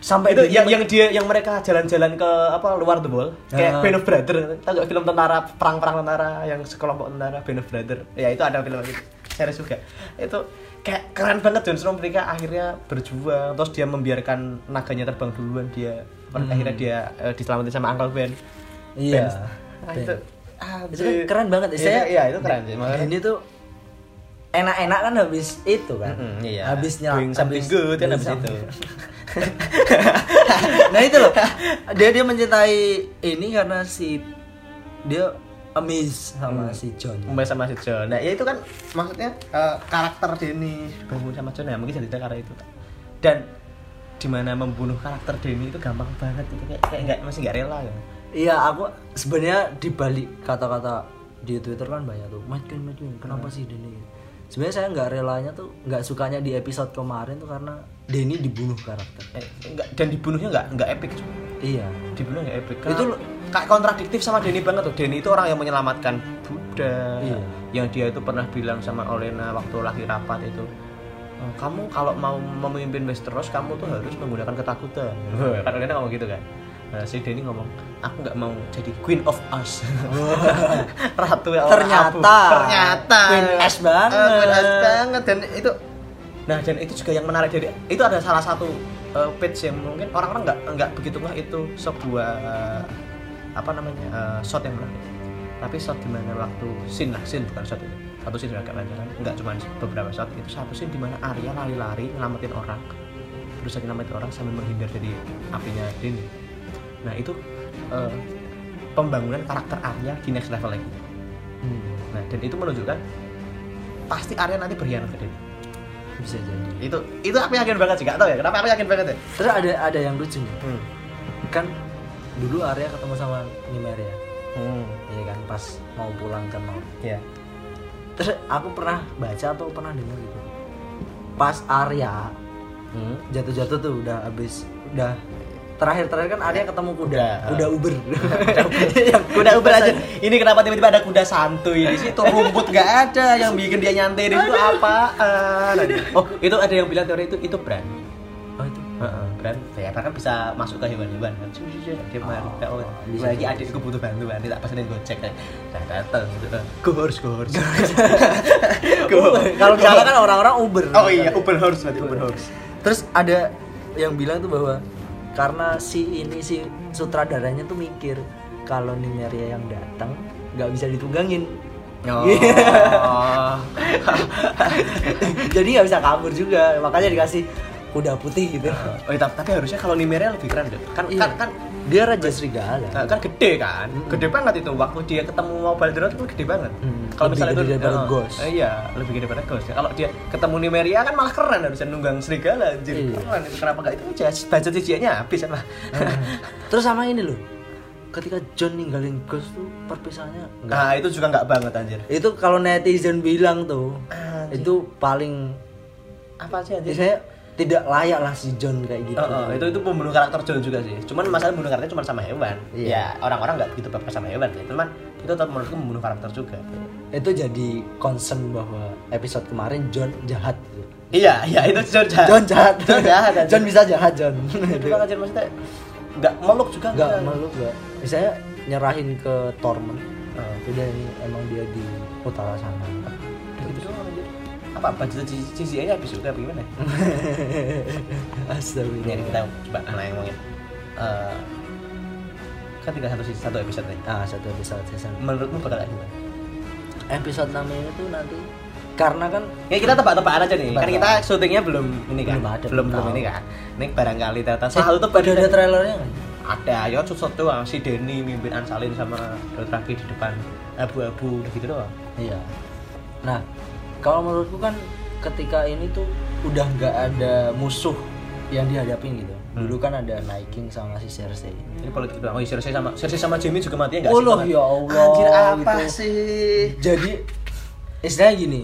Speaker 2: sampai
Speaker 1: Nah, iya, itu
Speaker 2: dia
Speaker 1: yang,
Speaker 2: men-
Speaker 1: yang dia yang mereka jalan-jalan ke apa luar the wall kayak
Speaker 2: Ah.
Speaker 1: Band of Brother tau gak film tentara perang-perang tentara yang sekelompok tentara Band of Brother ya itu ada film itu series juga itu kayak keren banget Jon Snow mereka akhirnya berjuang terus dia membiarkan naganya terbang duluan dia akhirnya dia eh, diselamatin sama Uncle Ben
Speaker 2: Hmm. iya
Speaker 1: Ben. Ah, itu ah,
Speaker 2: itu kan keren banget
Speaker 1: Iya,
Speaker 2: istilahnya
Speaker 1: iya, itu keren sih, makanya.
Speaker 2: ini tuh enak-enak kan habis itu kan
Speaker 1: Mm-mm, iya.
Speaker 2: habis nyala
Speaker 1: Doing something good kan habis itu.
Speaker 2: nah itu loh dia dia mencintai ini karena si dia amazed sama
Speaker 1: Hmm.
Speaker 2: si John
Speaker 1: Mumbai sama si John. Nah, ya itu kan maksudnya eh, karakter Denny dibangun sama John ya mungkin jadi karena itu. Dan dimana membunuh karakter Denny itu gampang banget itu kayak kayak nggak masih nggak rela ya.
Speaker 2: Iya, aku sebenarnya di balik kata-kata di Twitter kan banyak tuh, Mad Queen, Mad Queen, kenapa
Speaker 1: Mm.
Speaker 2: sih Denny? Sebenarnya saya nggak relanya tuh, nggak sukanya di episode kemarin tuh karena Denny dibunuh karakter.
Speaker 1: Eh, nggak- dan dibunuhnya nggak nggak epic. cuy.
Speaker 2: Iya.
Speaker 1: Dibunuh nggak epic.
Speaker 2: Itu
Speaker 1: Itu
Speaker 2: lo-
Speaker 1: kayak kontradiktif sama Denny banget tuh. Denny itu orang yang menyelamatkan Buddha.
Speaker 2: Iya.
Speaker 1: Yang dia itu pernah bilang sama Olena waktu lagi rapat itu. "Eh, Kamu kalau mau memimpin Westeros kamu tuh harus menggunakan ketakutan. kan Olena ngomong gitu kan. Nah, si Denny ngomong, aku nggak mau jadi Queen of Us. Ratu yang orang
Speaker 2: Ternyata.
Speaker 1: abu. ternyata
Speaker 2: Queen Ash banget.
Speaker 1: Eh, Queen Ash banget dan itu Nah, dan itu juga yang menarik dari itu ada salah satu eh, page yang mungkin orang-orang nggak nggak begitu ngeh itu sebuah eh, apa namanya eh, shot yang menarik. Tapi shot di mana waktu scene lah, scene bukan shot itu. Satu scene agak panjang, nggak cuma beberapa shot. Itu satu scene di mana Arya lari-lari nyelamatin orang, berusaha nyelamatin orang sambil menghindar dari apinya Dini. Nah itu eh, pembangunan karakter Arya di next level lagi.
Speaker 2: Hmm,
Speaker 1: Nah dan itu menunjukkan pasti Arya nanti berkhianat ke Dini
Speaker 2: bisa jadi.
Speaker 1: itu itu aku yakin banget sih gak tau ya kenapa aku yakin banget ya
Speaker 2: Terus ada ada yang lucu nih, kan dulu Arya ketemu sama Nymeria,
Speaker 1: hmm.
Speaker 2: iya kan pas mau pulang ke Nor.
Speaker 1: ya
Speaker 2: Terus aku pernah baca atau pernah dengar gitu, pas Arya
Speaker 1: hmm.
Speaker 2: jatuh-jatuh tuh udah habis udah terakhir-terakhir kan Arya ketemu kuda
Speaker 1: Kuda. ah.
Speaker 2: kuda uber
Speaker 1: kuda uber aja ini kenapa tiba-tiba ada kuda santuy di situ rumput nggak ada yang bikin dia nyantai di situ apa oh itu ada yang bilang teori itu itu brand
Speaker 2: oh itu
Speaker 1: brand ya kan bisa masuk ke hewan-hewan kan Cuk, cuk, cuk, dia mari
Speaker 2: Oh,
Speaker 1: oh,
Speaker 2: bisa,
Speaker 1: lagi
Speaker 2: bisa,
Speaker 1: adikku butuh bantuan dia tak pesenin gojek kan Nah, datang gitu gohors gohors
Speaker 2: kalau di sana kan orang-orang uber
Speaker 1: oh iya open horse berarti open horse
Speaker 2: terus ada yang bilang tuh bahwa karena si ini si sutradaranya tuh mikir kalau Nimeria yang datang nggak bisa ditunggangin Iya.
Speaker 1: Oh.
Speaker 2: jadi nggak bisa kabur juga makanya dikasih kuda putih gitu
Speaker 1: iya, Oh, tapi, tapi harusnya kalau Nimeria lebih keren deh. Kan,
Speaker 2: Iya. Hmm.
Speaker 1: kan kan
Speaker 2: dia raja serigala
Speaker 1: Nah, kan gede kan, gede banget itu. Waktu dia ketemu Mobile Drone itu gede banget.
Speaker 2: Mm.
Speaker 1: Kalau
Speaker 2: Lebih
Speaker 1: misalnya
Speaker 2: gede
Speaker 1: itu
Speaker 2: daripada
Speaker 1: eh,
Speaker 2: Ghost.
Speaker 1: eh, Iya, lebih gede daripada Ghost. Kalau dia ketemu Nimeria kan malah keren harusnya nunggang serigala anjir.
Speaker 2: Iya. Hmm.
Speaker 1: Keren itu kenapa enggak itu aja budget CGI-nya habis apa.
Speaker 2: terus sama ini loh ketika John ninggalin Ghost tuh perpisahannya enggak
Speaker 1: Nah, itu juga enggak banget anjir.
Speaker 2: itu kalau netizen bilang tuh
Speaker 1: Anjir.
Speaker 2: itu paling
Speaker 1: Apa sih anjir?
Speaker 2: saya tidak layak lah si John kayak gitu
Speaker 1: Oh, oh, itu itu pembunuh karakter John juga sih. Cuman masalah bunuh karakter cuma sama hewan. Ya,
Speaker 2: Iya.
Speaker 1: orang-orang nggak gitu baper sama hewan sih. Cuman itu tetap menurutku membunuh karakter juga.
Speaker 2: itu jadi concern bahwa episode kemarin John jahat gitu.
Speaker 1: Iya, iya itu John jahat.
Speaker 2: John jahat
Speaker 1: John jahat. anjir.
Speaker 2: John bisa jahat John
Speaker 1: Itu kan banget, anjir maksudnya nggak meluk juga
Speaker 2: nggak malu nggak misalnya nyerahin ke Torment
Speaker 1: Oh.
Speaker 2: udah ini emang dia di utara sana
Speaker 1: Gitu doang, anjir. Apa budget CGI-nya habis juga apa gimana? Ini
Speaker 2: Astagfirullah
Speaker 1: kita coba mulai ngomongin. Eh, kan tinggal satu satu episode nih.
Speaker 2: ah satu episode season
Speaker 1: Menurutmu bakal kayak gimana?
Speaker 2: episode namanya itu nanti karena kan
Speaker 1: Ya kita tebak-tebakan aja nih. Kan
Speaker 2: Tebak-tebakan.
Speaker 1: kita syutingnya belum ini kan.
Speaker 2: Belum ada,
Speaker 1: belum,
Speaker 2: belum
Speaker 1: belum
Speaker 2: tahu.
Speaker 1: ini kan. Ini barangkali ternyata
Speaker 2: eh,
Speaker 1: selalu tuh
Speaker 2: udah ada trailernya nggak?
Speaker 1: ada ya cut doang si Denny mimpin Ansalin sama Dotraki di depan abu-abu udah gitu doang
Speaker 2: Iya. Nah, kalau menurutku kan ketika ini tuh udah nggak ada musuh yang dihadapin gitu.
Speaker 1: Hmm.
Speaker 2: Dulu kan ada Naiking sama si Cersei.
Speaker 1: jadi politik doang oh iya Cersei sama Cersei sama Jimmy juga matinya nggak
Speaker 2: Walah,
Speaker 1: banget?
Speaker 2: ya Allah,
Speaker 1: anjir apa
Speaker 2: gitu.
Speaker 1: sih
Speaker 2: Jadi istilahnya gini,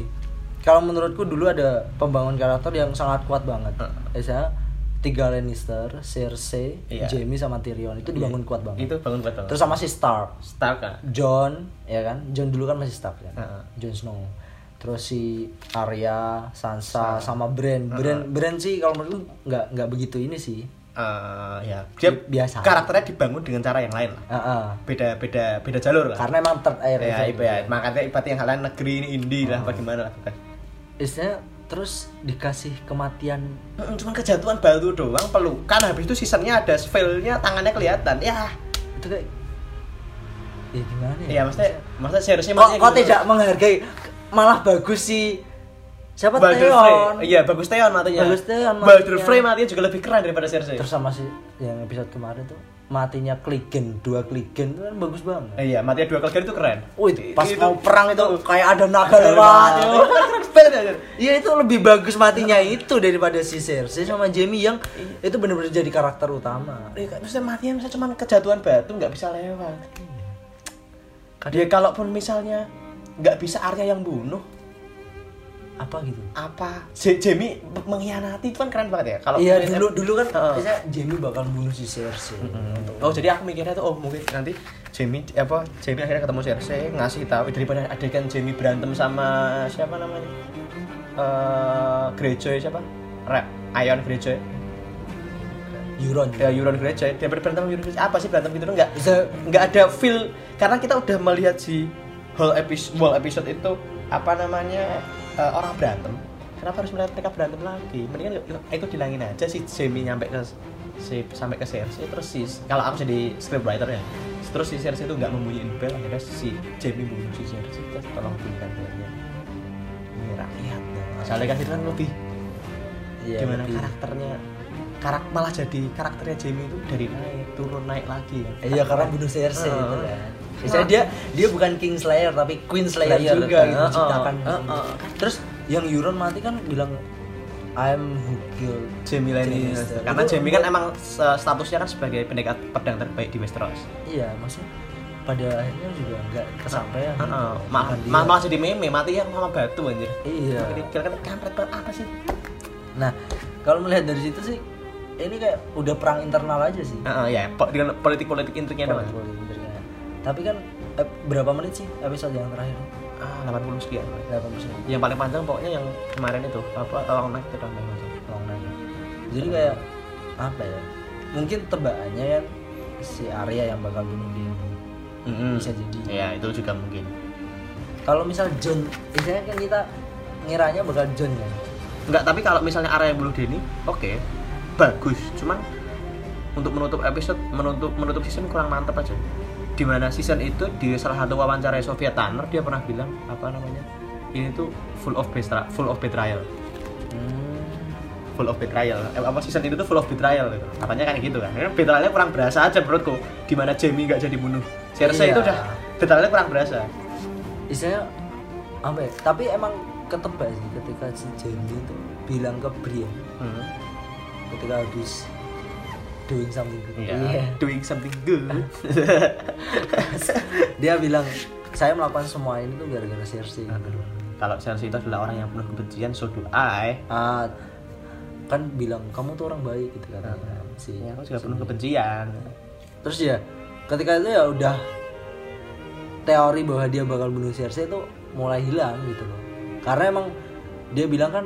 Speaker 2: kalau menurutku dulu ada pembangunan karakter yang sangat kuat banget. Misalnya tiga Lannister, Cersei,
Speaker 1: Hmm. Iya.
Speaker 2: Jaime sama Tyrion itu dibangun kuat banget.
Speaker 1: itu Gitu, bangun buat
Speaker 2: Terus sama si Stark.
Speaker 1: Stark kan
Speaker 2: John ya kan John dulu kan masih Stark kan
Speaker 1: Heeh.
Speaker 2: Jon Snow terus si Arya Sansa sama Bran Bran Bran sih kalau menurut gue nggak nggak begitu ini sih
Speaker 1: Eh, ya dia
Speaker 2: Biasa.
Speaker 1: karakternya dibangun dengan cara yang lain lah
Speaker 2: Heeh.
Speaker 1: beda beda beda jalur lah
Speaker 2: karena emang third air
Speaker 1: ya, ya, makanya ibaratnya yang kalian negeri ini indie
Speaker 2: Hmm.
Speaker 1: lah bagaimana lah bukan
Speaker 2: istilahnya terus dikasih kematian
Speaker 1: Mm, cuman kejatuhan batu doang pelukan habis itu seasonnya ada spellnya tangannya kelihatan ya
Speaker 2: itu kayak ya gimana ya,
Speaker 1: ya maksudnya maksudnya seriusnya
Speaker 2: kok,
Speaker 1: maksudnya
Speaker 2: kok
Speaker 1: gitu.
Speaker 2: tidak menghargai malah bagus si siapa ya,
Speaker 1: Baldur
Speaker 2: Theon
Speaker 1: Frey. Iya, bagus Theon matinya.
Speaker 2: Bagus Theon matinya.
Speaker 1: Baldur Frey matinya juga lebih keren daripada Cersei.
Speaker 2: terus sama si yang episode kemarin tuh matinya Kligen dua Kligen itu kan bagus banget
Speaker 1: Eh, iya, matinya dua kali itu keren.
Speaker 2: Wih, pas
Speaker 1: Itu-
Speaker 2: mau perang itu kayak ada naga
Speaker 1: Keren
Speaker 2: lewat.
Speaker 1: banget. Keren banget, anjir.
Speaker 2: Iya itu lebih bagus matinya itu daripada si Cersei sama Jamie yang itu bener-bener jadi karakter utama.
Speaker 1: Eh, Maksudnya matinya misalnya cuma kejatuhan batu nggak bisa lewat. Dia kalaupun misalnya nggak bisa Arya yang bunuh,
Speaker 2: Apa gitu?
Speaker 1: apa? J Jamie mengkhianati itu kan keren banget ya. Kalau
Speaker 2: Iya
Speaker 1: misalnya-
Speaker 2: dulu dulu kan
Speaker 1: Heeh.
Speaker 2: biasanya Jamie bakal bunuh si Cersei.
Speaker 1: Oh jadi aku mikirnya tuh oh mungkin nanti Jamie apa Jamie akhirnya ketemu Cersei ngasih tahu eh, daripada adegan Jamie berantem sama siapa namanya Eh Greyjoy siapa Rap Ion Greyjoy
Speaker 2: Euron.
Speaker 1: ya Euron Greyjoy daripada berantem sama Euron Greyjoy apa sih berantem gitu enggak
Speaker 2: Bisa
Speaker 1: nggak ada feel karena kita udah melihat si whole episode whole episode itu apa namanya eh, orang berantem kenapa harus melihat mereka berantem lagi mendingan yuk- ikut dilangin aja si Jamie nyampe ke si sampai ke Cersei terus si kalau aku jadi scriptwriter ya terus si Cersei itu nggak membunyiin bel akhirnya si Jamie bunuh si Cersei terus tolong bunyikan belnya ini rakyat soalnya kan itu kan lebih
Speaker 2: Iya,
Speaker 1: gimana
Speaker 2: lebih-
Speaker 1: karakternya karak malah jadi karakternya Jamie itu dari naik turun naik lagi kan
Speaker 2: Iya karena bunuh Cersei
Speaker 1: Heeh.
Speaker 2: itu kan. Biasanya dia dia bukan King Slayer tapi Queen Slayer,
Speaker 1: Slayer,
Speaker 2: juga
Speaker 1: kan.
Speaker 2: gitu
Speaker 1: Heeh.
Speaker 2: ciptakan.
Speaker 1: Heeh.
Speaker 2: Terus yang Euron mati kan bilang I'm who killed
Speaker 1: Jamie Lannister. Karena
Speaker 2: Itu-
Speaker 1: Jamie kan emang se- statusnya kan sebagai pendekat pedang terbaik di Westeros.
Speaker 2: Iya, maksudnya pada akhirnya juga nggak kesampaian. gitu.
Speaker 1: Heeh. Malah
Speaker 2: Dia-
Speaker 1: malah jadi meme mati yang sama batu anjir.
Speaker 2: ya. Iya.
Speaker 1: Kira-kira kan kampret banget apa sih?
Speaker 2: Nah, kalau melihat dari situ sih ini kayak udah perang internal aja sih.
Speaker 1: Heeh, ya po- dengan politik-politik intriknya
Speaker 2: Perang
Speaker 1: doang.
Speaker 2: politik internal. Tapi kan eh, berapa menit sih episode yang terakhir?
Speaker 1: Ah, 80 sekian.
Speaker 2: Berapa menit?
Speaker 1: Yang paling panjang pokoknya yang kemarin itu apa Long Night itu paling panjang.
Speaker 2: Long Night. Jadi kayak apa ya? Mungkin tebaannya kan si Arya yang bakal bunuh dia. Bisa jadi.
Speaker 1: Ya, itu juga mungkin.
Speaker 2: Kalau misal John, biasanya kan kita ngiranya bakal John kan.
Speaker 1: Enggak, tapi kalau misalnya area yang bunuh Denny, oke. Bagus, cuman untuk menutup episode, menutup menutup season kurang mantap aja. Di mana season itu di salah satu wawancara Sofia Tanner dia pernah bilang
Speaker 2: Hmm.
Speaker 1: apa namanya? Ini tuh full of betrayal, full of betrayal. full of betrayal eh, apa season itu tuh full of betrayal gitu. katanya kan gitu kan Karena betrayalnya kurang berasa aja menurutku di mana Jamie nggak jadi bunuh Cersei
Speaker 2: Iya.
Speaker 1: itu udah betrayalnya kurang berasa
Speaker 2: istilahnya apa ya? tapi emang ketebak sih ketika si Jamie itu bilang ke Brian
Speaker 1: hmm.
Speaker 2: ketika habis doing something good.
Speaker 1: Iya.
Speaker 2: Iya.
Speaker 1: doing something good
Speaker 2: dia bilang saya melakukan semua ini tuh gara-gara Cersei
Speaker 1: Ah. kalau Cersei itu adalah orang yang penuh kebencian so do I
Speaker 2: Ah, kan bilang kamu tuh orang baik gitu katanya si
Speaker 1: ya, aku juga penuh kebencian
Speaker 2: terus ya ketika itu ya udah teori bahwa dia bakal bunuh Cersei itu mulai hilang gitu loh karena emang dia bilang kan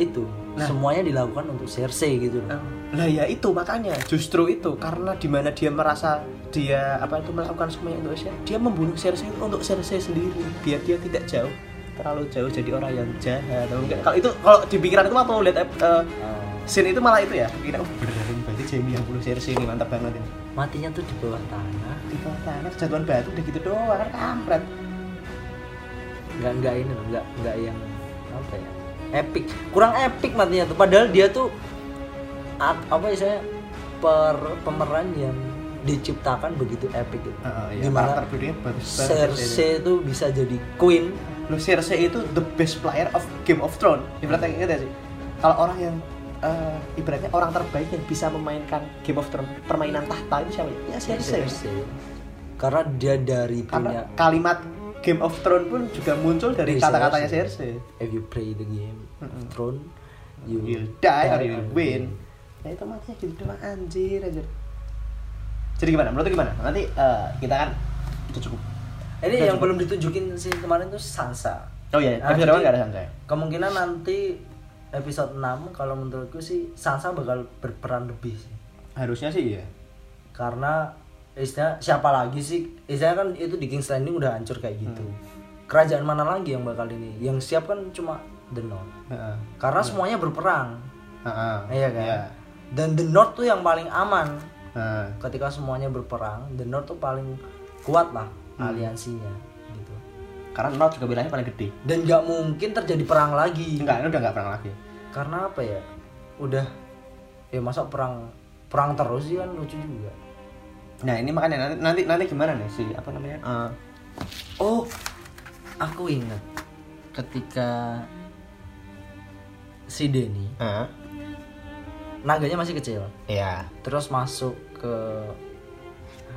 Speaker 2: itu semuanya dilakukan untuk Cersei gitu loh
Speaker 1: lah ya itu makanya justru itu karena dimana dia merasa dia apa itu melakukan semuanya untuk Cersei dia membunuh Cersei untuk Cersei sendiri biar dia tidak jauh terlalu jauh jadi orang yang jahat atau enggak kalau itu kalau di pikiranku waktu lihat eh, scene itu malah itu ya kira oh beneran berarti Jamie yang bunuh Cersei ini mantap banget ini
Speaker 2: matinya tuh di bawah tanah
Speaker 1: di bawah tanah kejatuhan batu udah gitu doang kan kampret
Speaker 2: nggak nggak ini loh nggak nggak yang apa ya epic kurang epic matinya tuh padahal dia tuh a- apa ya saya per pemeran yang diciptakan begitu epic gitu.
Speaker 1: Heeh, iya,
Speaker 2: Dimana
Speaker 1: karakter buildingnya bagus banget Cersei
Speaker 2: Cersei itu bisa jadi queen
Speaker 1: Lo Cersei itu the best player of Game of Thrones. Ibaratnya ingat ya sih. Kalau orang yang eh, ibaratnya orang terbaik yang bisa memainkan Game of Thrones permainan tahta itu siapa ya? Ya Cersei.
Speaker 2: karena dia dari punya
Speaker 1: Karena kalimat Game of Thrones pun juga muncul dari
Speaker 2: Dari
Speaker 1: kata-katanya
Speaker 2: Iya, Cersei.
Speaker 1: Cersei.
Speaker 2: if you play the game of throne you
Speaker 1: You'll die or
Speaker 2: or
Speaker 1: you'll
Speaker 2: you
Speaker 1: win. Nah itu maksudnya gitu doang anjir anjir. Jadi gimana? Menurut lu gimana? Nanti eh, kita kan kita cukup. Udah
Speaker 2: ini yang
Speaker 1: cukup.
Speaker 2: belum ditunjukin sih kemarin tuh Sansa
Speaker 1: Oh iya,
Speaker 2: Nah,
Speaker 1: episode
Speaker 2: jadi-
Speaker 1: awal nggak ada santai.
Speaker 2: kemungkinan nanti episode 6 kalau menurutku sih Sansa bakal berperan lebih sih.
Speaker 1: Harusnya sih iya.
Speaker 2: karena istilah siapa lagi sih istilah kan itu di King's Landing udah hancur kayak gitu
Speaker 1: Hmm.
Speaker 2: kerajaan mana lagi yang bakal ini yang siap kan cuma The North
Speaker 1: Heeh.
Speaker 2: karena semuanya berperang
Speaker 1: Heeh.
Speaker 2: iya kan dan The North tuh yang paling aman
Speaker 1: Heeh.
Speaker 2: ketika semuanya berperang The North tuh paling kuat lah
Speaker 1: Hmm.
Speaker 2: aliansinya gitu
Speaker 1: Karena North juga bilangnya paling gede.
Speaker 2: dan nggak mungkin terjadi perang lagi
Speaker 1: Enggak, ini udah enggak perang lagi.
Speaker 2: karena apa ya udah ya masa perang perang terus sih kan lucu juga
Speaker 1: Nah, ini makanya nanti nanti, nanti gimana nih si apa namanya? Eh,
Speaker 2: oh aku ingat ketika si Denny
Speaker 1: eh,
Speaker 2: naganya masih kecil
Speaker 1: Iya,
Speaker 2: terus masuk ke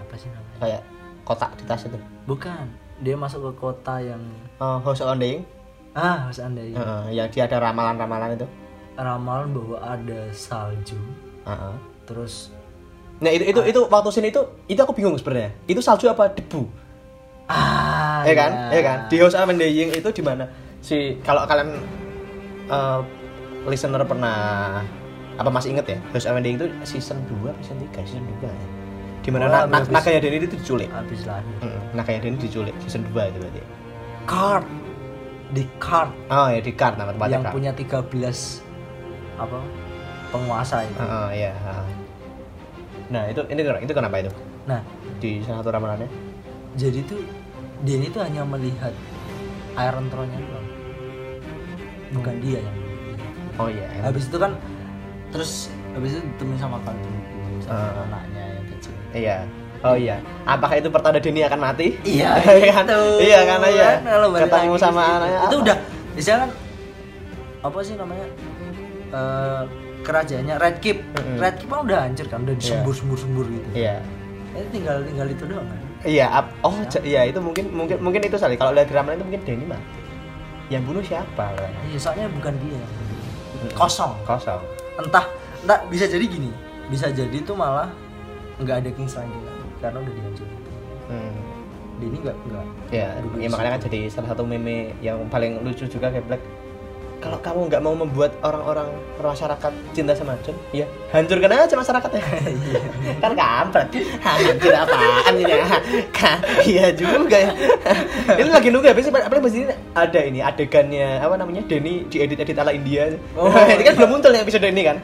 Speaker 2: apa sih namanya
Speaker 1: kayak kotak di tas itu.
Speaker 2: bukan dia masuk ke kota yang
Speaker 1: Oh, House on Dying.
Speaker 2: ah harus andai
Speaker 1: Heeh, ya dia ada ramalan-ramalan itu.
Speaker 2: ramalan bahwa ada salju
Speaker 1: Heeh.
Speaker 2: terus
Speaker 1: Eh, Nah, itu itu itu waktu sini itu itu aku bingung sebenarnya. Itu salju apa debu?
Speaker 2: ah
Speaker 1: ya kan? Ya kan? Di House on Dying itu di mana? Si kalau kalian eh, listener pernah apa masih inget ya? House on Dying itu season 2 apa season 3? Season 2 ya. Di mana
Speaker 2: Oh,
Speaker 1: na- na-
Speaker 2: habis-
Speaker 1: Nakaya Denny itu diculik.
Speaker 2: habis lahir
Speaker 1: Mm, Nakaya Denny diculik season 2 itu berarti.
Speaker 2: card di card
Speaker 1: Oh ya di kart nama tempatnya
Speaker 2: yang
Speaker 1: Kart.
Speaker 2: punya 13 apa penguasa itu.
Speaker 1: Heeh, iya. heeh. Nah itu ini ken- itu kenapa itu
Speaker 2: Nah,
Speaker 1: di salah satu ramalannya?
Speaker 2: jadi tuh dia itu hanya melihat Iron Throne-nya doang. Bukan dia yang melihat.
Speaker 1: Oh iya. Heeh.
Speaker 2: Habis itu kan terus habis itu ditemuin sama Kalbu sama anaknya yang kecil.
Speaker 1: Iya. Oh iya. Apakah itu pertanda Denny akan mati?
Speaker 2: Iya,
Speaker 1: kan?
Speaker 2: itu.
Speaker 1: Iya karena ya.
Speaker 2: Kan kalau balik
Speaker 1: Ketemu
Speaker 2: lagi
Speaker 1: sama
Speaker 2: ke situ.
Speaker 1: anaknya.
Speaker 2: Itu
Speaker 1: apa?
Speaker 2: udah misalnya kan apa sih namanya? Eh, kerajaannya Red Keep.
Speaker 1: Mm-mm.
Speaker 2: Red Keep kan udah hancur kan, udah disembur-sembur-sembur gitu.
Speaker 1: Iya.
Speaker 2: Ini tinggal tinggal itu doang kan.
Speaker 1: Iya. ap- oh ja- iya itu mungkin mungkin mungkin itu sekali. Kalau lihat di ramalan itu mungkin Denny mati. Yang bunuh siapa?
Speaker 2: Iya, soalnya bukan dia. yang beli. Kosong.
Speaker 1: Kosong.
Speaker 2: Entah, entah bisa jadi gini. Bisa jadi tuh malah nggak ada Kings lagi lagi, karena udah dihancurin.
Speaker 1: Hmm.
Speaker 2: Dia ini nggak nggak.
Speaker 1: Ya, ya makanya kan jadi salah satu meme yang paling lucu juga kayak Black. Kalau kamu nggak mau membuat orang-orang masyarakat cinta sama John, ya hancurkan aja masyarakatnya. kan kampret, hancur apaan ya? Kan, iya juga ya. ini lagi nunggu habis paling pasti ada ini adegannya apa namanya Denny diedit-edit ala India.
Speaker 2: Oh.
Speaker 1: ini kan belum muncul yang episode ini kan.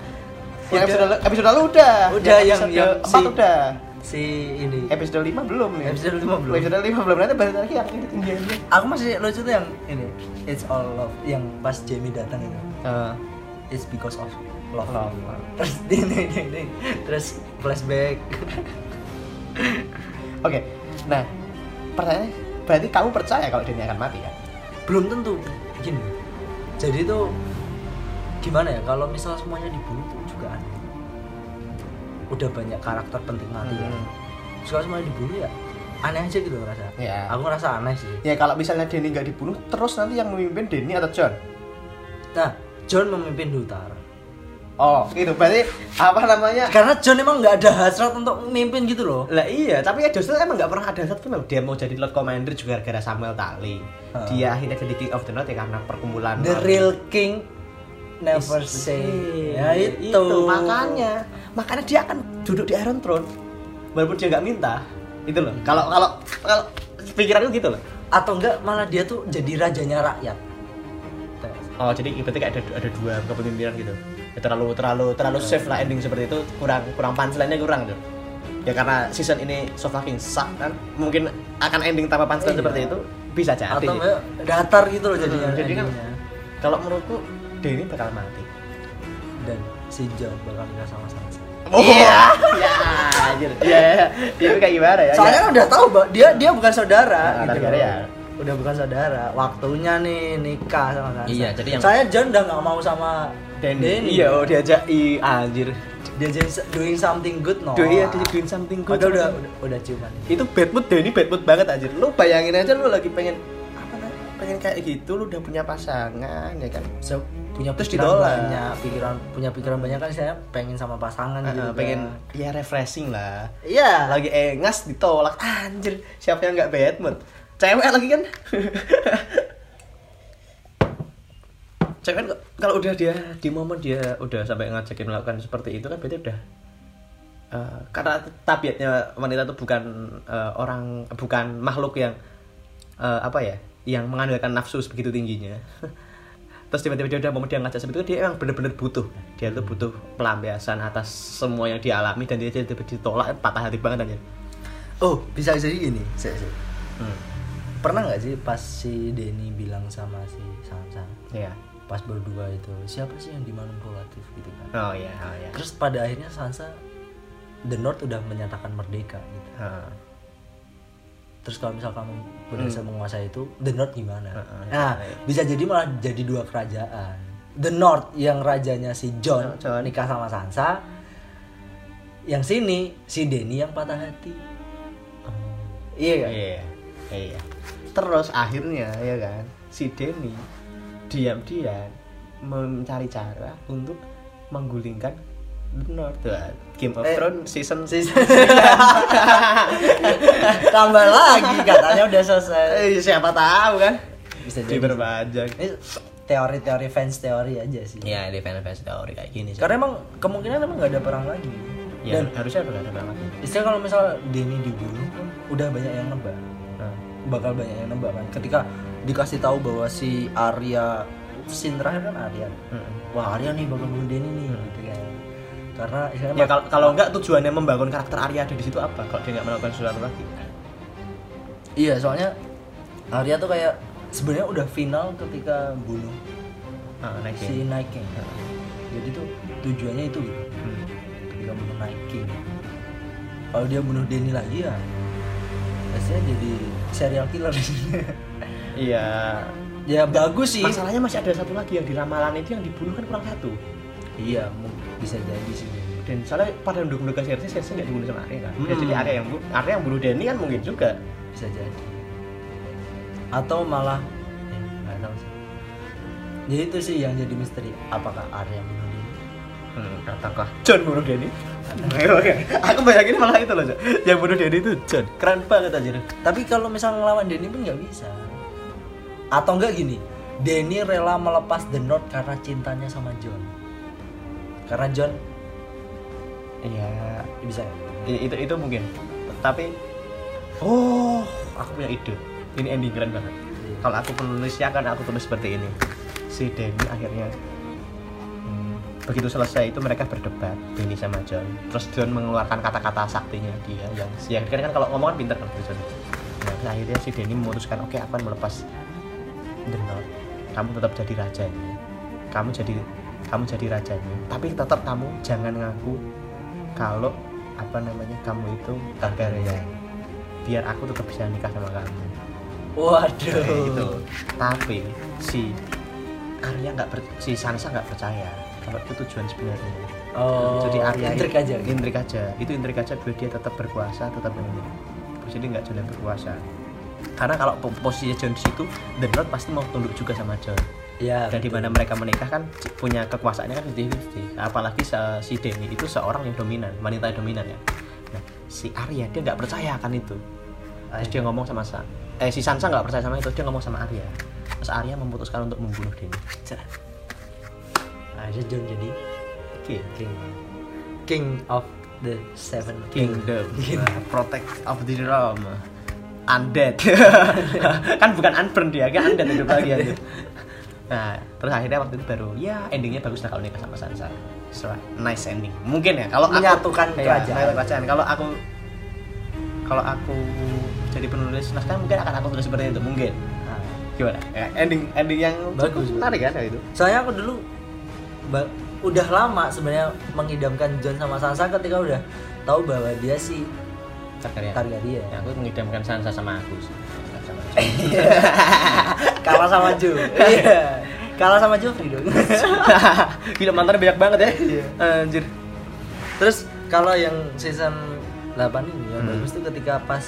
Speaker 1: Yang
Speaker 2: Udah.
Speaker 1: episode lalu, episode lalu udah. ya,
Speaker 2: Udah, yang-
Speaker 1: episode
Speaker 2: yang
Speaker 1: empat
Speaker 2: si-
Speaker 1: udah.
Speaker 2: Si ini.
Speaker 1: Episode 5 belum nih.
Speaker 2: Episode lima belum.
Speaker 1: Episode 5 belum nanti balik lagi yang edit India. Eh,
Speaker 2: Aku masih lucu tuh yang ini. It's all love yang pas Jamie datang itu. it's because of love.
Speaker 1: Love.
Speaker 2: Terus ding ding ding ding. Terus flashback.
Speaker 1: Oke. Nah, pertanyaannya berarti kamu percaya kalau dunia akan mati ya?
Speaker 2: Belum tentu. Gini. Jadi tuh gimana ya kalau misal semuanya dibunuh tuh juga aneh. Udah banyak karakter penting mati ya.
Speaker 1: Hmm.
Speaker 2: Terus kalau semuanya dibunuh ya aneh aja gitu rasa.
Speaker 1: Iya.
Speaker 2: Aku ngerasa aneh sih.
Speaker 1: Ya kalau misalnya Denny nggak dibunuh, terus nanti yang memimpin Denny atau John?
Speaker 2: Nah, John memimpin di utara.
Speaker 1: Oh, gitu. Berarti apa namanya?
Speaker 2: Karena John emang nggak ada hasrat untuk memimpin gitu loh.
Speaker 1: Lah iya, tapi ya justru emang nggak pernah ada satu loh. Dia mau jadi Lord Commander juga gara-gara Samuel Tali.
Speaker 2: Heeh.
Speaker 1: Dia akhirnya jadi King of the North ya karena perkumpulan.
Speaker 2: The
Speaker 1: Malam.
Speaker 2: real king never
Speaker 1: Is-
Speaker 2: say.
Speaker 1: Iya,
Speaker 2: Ya itu.
Speaker 1: itu. makanya. Makanya dia akan duduk di Iron Throne walaupun dia nggak minta. Itu loh. Kalau kalau kalau pikiranku gitu loh.
Speaker 2: Atau enggak malah dia tuh jadi rajanya rakyat.
Speaker 1: Oh, jadi berarti kayak ada ada dua kepemimpinan gitu. Ya, terlalu terlalu terlalu safe lah ending seperti itu kurang kurang punchline-nya kurang tuh. Ya karena season ini so fucking suck kan. Mungkin akan ending tanpa punchline
Speaker 2: Iya.
Speaker 1: seperti itu bisa jadi.
Speaker 2: Atau enggak datar gitu loh jadinya.
Speaker 1: Hmm, jadi kan
Speaker 2: endingnya.
Speaker 1: kalau menurutku Denny bakal mati.
Speaker 2: dan si John bakal nikah sama Sansa.
Speaker 1: Iya. Ya, anjir. Iya, iya. Dia kayak gimana ya?
Speaker 2: Soalnya kan udah tahu Mbak, dia dia bukan saudara gitu
Speaker 1: Nah, tapi
Speaker 2: loh.
Speaker 1: ya.
Speaker 2: Udah bukan saudara, waktunya nih nikah sama Sansa.
Speaker 1: Iya, jadi yang-
Speaker 2: Soalnya John udah nggak mau sama
Speaker 1: Denny. Iya, oh, diajak i anjir.
Speaker 2: Dia jadi doing something good no.
Speaker 1: Do iya, dia doing something good.
Speaker 2: Padahal udah udah, udah ciuman.
Speaker 1: itu bad mood Denny bad mood banget anjir lu bayangin aja lu lagi pengen apa namanya pengen kayak gitu lu udah punya pasangan ya kan
Speaker 2: Saya punya
Speaker 1: Terus
Speaker 2: pikiran
Speaker 1: ditolak.
Speaker 2: banyak, pikiran punya pikiran banyak kan saya pengen sama pasangan
Speaker 1: Eh,
Speaker 2: gitu.
Speaker 1: eh, pengen ya refreshing lah
Speaker 2: Iya.
Speaker 1: lagi engas ditolak anjir siapa yang nggak bad mood cewek lagi kan cewek kok- kalau udah dia di momen dia udah sampai ngajakin melakukan seperti itu kan berarti udah eh, karena tabiatnya wanita itu bukan eh, orang bukan makhluk yang eh, apa ya yang mengandalkan nafsu sebegitu tingginya terus tiba-tiba dia udah mau dia ngajak seperti itu dia emang bener-bener butuh dia tuh butuh pelampiasan atas semua yang dialami dan dia tiba-tiba ditolak patah hati banget aja
Speaker 2: Oh, bisa jadi gini. Saya, saya.
Speaker 1: hmm.
Speaker 2: Pernah nggak sih pas si Denny bilang sama si Sansa
Speaker 1: ya
Speaker 2: pas berdua itu siapa sih yang dimanipulatif gitu kan?
Speaker 1: oh ya oh ya
Speaker 2: Terus pada akhirnya Sansa The North udah menyatakan merdeka gitu.
Speaker 1: Heeh.
Speaker 2: Terus kalau misal kamu berhasil menguasai itu, The North gimana?
Speaker 1: Heeh.
Speaker 2: Nah, bisa jadi malah jadi dua kerajaan. The North yang rajanya si John,
Speaker 1: John.
Speaker 2: nikah sama Sansa. Yang sini si Denny yang patah hati. Iya kan?
Speaker 1: Iya, iya. Terus akhirnya ya kan, si Denny diam-diam mencari cara untuk menggulingkan North Wah, Game of
Speaker 2: Eh,
Speaker 1: Thrones season
Speaker 2: Sis- Tambah lagi katanya udah selesai.
Speaker 1: Eh, siapa tahu kan?
Speaker 2: Bisa jadi.
Speaker 1: Diperpanjang.
Speaker 2: Ini teori-teori fans teori aja sih.
Speaker 1: Ya, di fan teori kayak gini. sih.
Speaker 2: Iya. Karena emang kemungkinan emang nggak ada perang lagi.
Speaker 1: ya,
Speaker 2: Dan
Speaker 1: harusnya udah nggak ada banget.
Speaker 2: istilah kalau misal Denny dibunuh kan udah banyak yang nebak.
Speaker 1: Nah,
Speaker 2: Bakal banyak yang nebak kan. Ketika dikasih tahu bahwa si Arya sin terakhir kan Arya. Wah Arya nih bakal bunuh Denny nih gitu kan. Karena istilahnya
Speaker 1: Ya kalau kalau nggak tujuannya membangun karakter Arya ada di situ apa? Kalau dia nggak melakukan sesuatu lagi.
Speaker 2: Iya, soalnya Arya tuh kayak sebenarnya udah final ketika bunuh
Speaker 1: Ah, next
Speaker 2: si
Speaker 1: game.
Speaker 2: Night King. Jadi tuh tujuannya itu gitu.
Speaker 1: Hmm.
Speaker 2: Ketika bunuh Night King. Kalau dia bunuh Denny lagi ya pastinya jadi serial killer.
Speaker 1: Iya.
Speaker 2: ya bagus sih.
Speaker 1: Masalahnya masih ada satu lagi yang di ramalan itu yang dibunuh kan kurang satu.
Speaker 2: Iya, mungkin bisa jadi sih.
Speaker 1: dan soalnya pada mendukung Lucas Hersi Hersi nggak dibunuh sama Arya kan Ya,
Speaker 2: Hmm.
Speaker 1: jadi Arya yang bu- Arya yang bunuh Denny kan mungkin juga
Speaker 2: Bisa jadi. Atau malah ya, nggak tahu sih. Jadi itu sih yang jadi misteri. Apakah Arya bunuh Denny?
Speaker 1: hmm, apakah John bunuh Denny aku bayangin malah itu loh Cok. yang bunuh Denny itu John keren banget aja
Speaker 2: Tapi kalau misal ngelawan Denny pun nggak bisa. Atau enggak gini, Denny rela melepas The North karena cintanya sama John. Karena John
Speaker 1: iya
Speaker 2: ya bisa. ya?
Speaker 1: i- itu itu mungkin tapi oh aku punya ide ini ending keren banget kalau aku penulisnya kan aku tulis seperti ini si Denny akhirnya hmm, begitu selesai itu mereka berdebat Denny sama John terus John mengeluarkan kata-kata saktinya dia yang si yang kan kalau ngomong kan pintar kan John nah, terus akhirnya si Denny memutuskan oke aku akan melepas The North. kamu tetap jadi raja ini kamu jadi kamu jadi rajanya tapi tetap kamu jangan ngaku kalau apa namanya kamu itu Targaryen biar aku tetap bisa nikah sama kamu
Speaker 2: Waduh.
Speaker 1: Kayak gitu tapi si Arya nggak per- si Sansa nggak percaya kalau itu tujuan sebenarnya
Speaker 2: Oh.
Speaker 1: jadi Arya
Speaker 2: intrik aja. gitu.
Speaker 1: iya, intrik aja itu intrik aja biar dia tetap berkuasa tetap ini jadi nggak Jon yang berkuasa karena kalau po- posisi Jon di situ The North pasti mau tunduk juga sama Jon
Speaker 2: Ya.
Speaker 1: dan di
Speaker 2: betul.
Speaker 1: mana mereka menikah kan c- punya kekuasaannya kan 50-50 apalagi se- si Demi itu seorang yang dominan wanita yang dominan ya nah si Arya dia nggak percaya akan itu terus dia ngomong sama San eh si Sansa nggak percaya sama itu dia ngomong sama Arya terus Arya memutuskan untuk membunuh Demi
Speaker 2: Cerah. Aja John jadi
Speaker 1: Oke.
Speaker 2: king. King of the Seven King.
Speaker 1: Kingdom Nah, Protect of the Realm Undead Kan bukan unburn dia, kan undead hidup lagi anjir. Nah, terus akhirnya waktu itu baru ya endingnya bagus lah kalau nikah sama Sansa. So, nice ending. Mungkin ya kalau aku-
Speaker 2: Menyatukan
Speaker 1: Iya,
Speaker 2: kerajaan.
Speaker 1: menyatukan kerajaan. Kalau aku kalau aku jadi penulis naskah mungkin akan aku tulis seperti itu mungkin.
Speaker 2: Nah.
Speaker 1: Gimana? Ya, ending ending yang
Speaker 2: Bagus.
Speaker 1: cukup menarik kan ya itu.
Speaker 2: Soalnya aku dulu ba- udah lama sebenarnya mengidamkan John sama Sansa ketika udah tahu bahwa dia si
Speaker 1: Targaryen.
Speaker 2: Targaryen.
Speaker 1: Ya, aku mengidamkan Sansa sama aku sih. Sama
Speaker 2: Kalah sama Ju. Iya. Kalah sama Joffrey dong.
Speaker 1: Gila mantannya banyak banget ya.
Speaker 2: Iya.
Speaker 1: Anjir.
Speaker 2: Terus kalau yang season 8 ini yang
Speaker 1: Hmm.
Speaker 2: bagus tuh ketika pas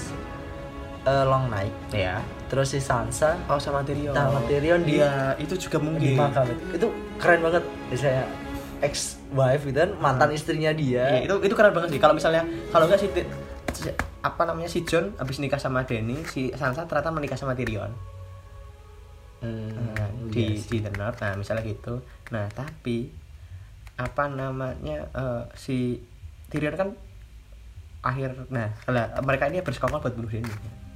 Speaker 2: eh, Long Night
Speaker 1: Ya.
Speaker 2: terus si Sansa
Speaker 1: Oh sama Tyrion.
Speaker 2: Sama Tyrion di-
Speaker 1: Iya, itu juga
Speaker 2: di
Speaker 1: mungkin.
Speaker 2: makam itu. Itu keren banget. Saya ex wife gitu kan mantan istrinya
Speaker 1: Iya,
Speaker 2: dia.
Speaker 1: itu itu keren banget sih. Kalau misalnya kalau enggak si Ti- si- apa namanya si John abis nikah sama Dany, si Sansa ternyata menikah sama Tyrion.
Speaker 2: Hmm,
Speaker 1: Nah,
Speaker 2: iya.
Speaker 1: di di The North. Nah, misalnya gitu. Nah, tapi apa namanya eh, si Tyrion kan akhir nah lah, mereka ini bersekongkol buat bunuh Dany.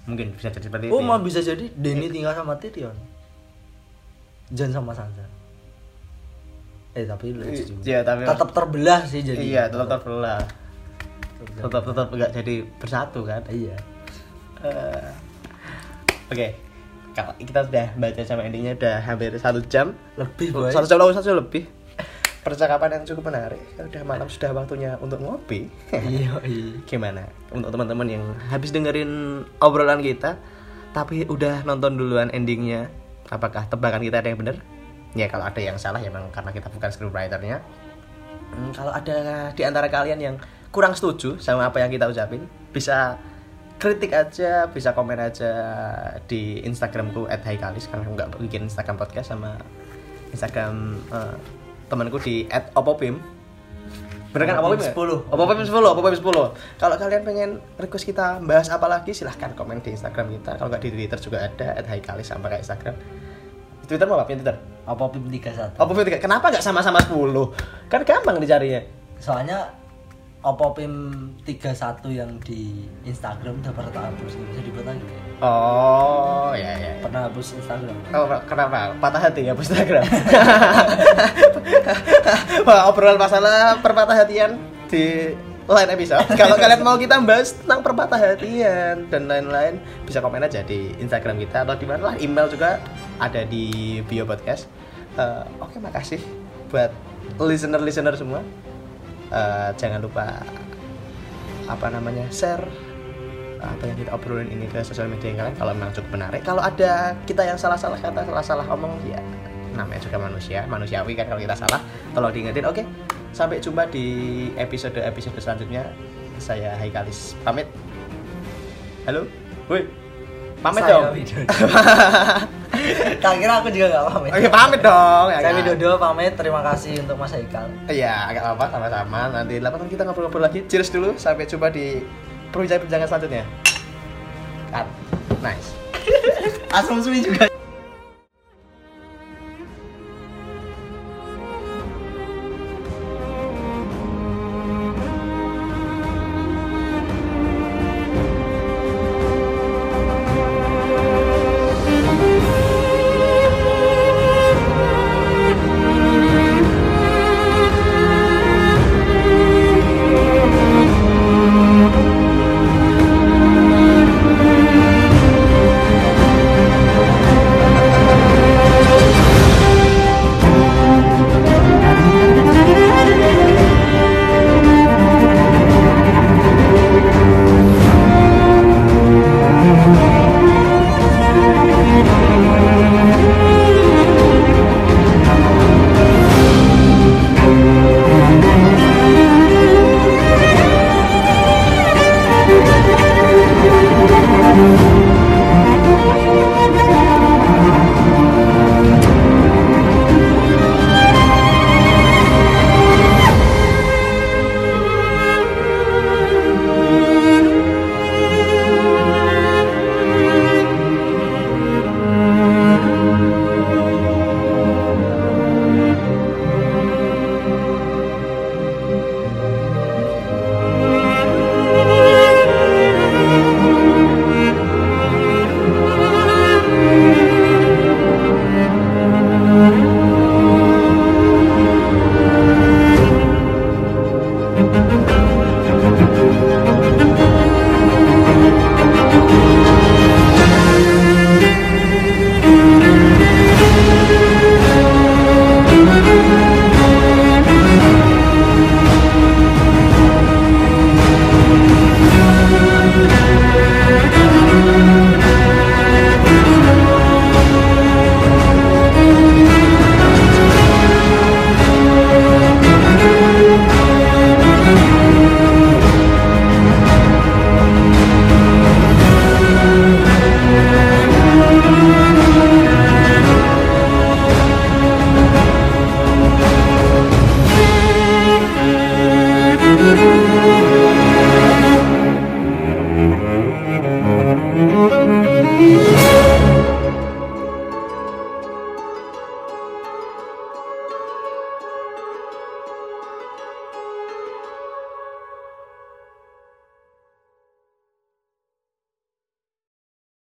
Speaker 1: Mungkin bisa jadi seperti
Speaker 2: Oh,
Speaker 1: itu. ya.
Speaker 2: mau bisa jadi Denny tinggal sama Tyrion. John sama Sansa. Eh, tapi lucu juga.
Speaker 1: Iya, tapi-
Speaker 2: tetap terbelah sih jadi.
Speaker 1: Iya, tetap terbelah.
Speaker 2: terbelah.
Speaker 1: Tetap tetap enggak jadi bersatu kan.
Speaker 2: Iya.
Speaker 1: Eh, Oke, kalau kita sudah baca sama endingnya udah hampir satu jam,
Speaker 2: Lebih boy.
Speaker 1: satu jam lebih satu jam lebih. Percakapan yang cukup menarik. Udah malam sudah waktunya untuk ngopi.
Speaker 2: Iya, iya.
Speaker 1: Gimana untuk teman-teman yang habis dengerin obrolan kita, tapi udah nonton duluan endingnya, apakah tebakan kita ada yang benar? Ya kalau ada yang salah ya memang karena kita bukan scriptwriternya. Hmm, kalau ada di antara kalian yang kurang setuju sama apa yang kita ucapin, bisa kritik aja, bisa komen aja di Instagramku @haikalis karena aku nggak bikin Instagram podcast sama Instagram eh, temanku di @opopim. Bener kan opopim? ya?
Speaker 2: 10.
Speaker 1: Opopim 10, opopim 10. Kalau kalian pengen request kita bahas apa lagi, silahkan komen di Instagram kita. Kalau nggak di Twitter juga ada @haikalis sama kayak Instagram. Twitter mau apa? Punya Twitter?
Speaker 2: Apa Pim 31?
Speaker 1: Opopim tiga. Kenapa nggak sama-sama 10? Kan gampang dicarinya.
Speaker 2: Soalnya Oppo Pim 31 yang di Instagram udah pernah terhapus nggak bisa dibuat lagi ya?
Speaker 1: Oh, ya ya. ya.
Speaker 2: pernah hapus Instagram
Speaker 1: Kenapa? Oh, Kenapa? Patah hati ya Bu Instagram. Wah, obrolan masalah perpatah hatian di lain episode. Kalau kalian mau kita bahas tentang perpatah hatian dan lain-lain, bisa komen aja di Instagram kita atau di mana lah email juga ada di bio podcast. Eh, Oke, makasih buat listener-listener semua. Eh, jangan lupa apa namanya share eh, apa yang kita obrolin ini ke sosial media kalian kalau memang cukup menarik kalau ada kita yang salah-salah kata salah-salah omong ya namanya juga manusia manusiawi kan kalau kita salah tolong diingetin oke sampai jumpa di episode episode selanjutnya saya Haikalis pamit halo woi pamit
Speaker 2: Saya
Speaker 1: dong
Speaker 2: Widodo. tak kira aku juga nggak pamit
Speaker 1: oke Oh, pamit dong ya
Speaker 2: saya
Speaker 1: kan?
Speaker 2: Widodo pamit terima kasih untuk Mas Haikal
Speaker 1: Iya, agak lama sama-sama. Nanti lama kita ngobrol-ngobrol lagi. Cheers dulu sampai jumpa di perbincangan-perbincangan selanjutnya. Cut. Nice. Asumsi juga.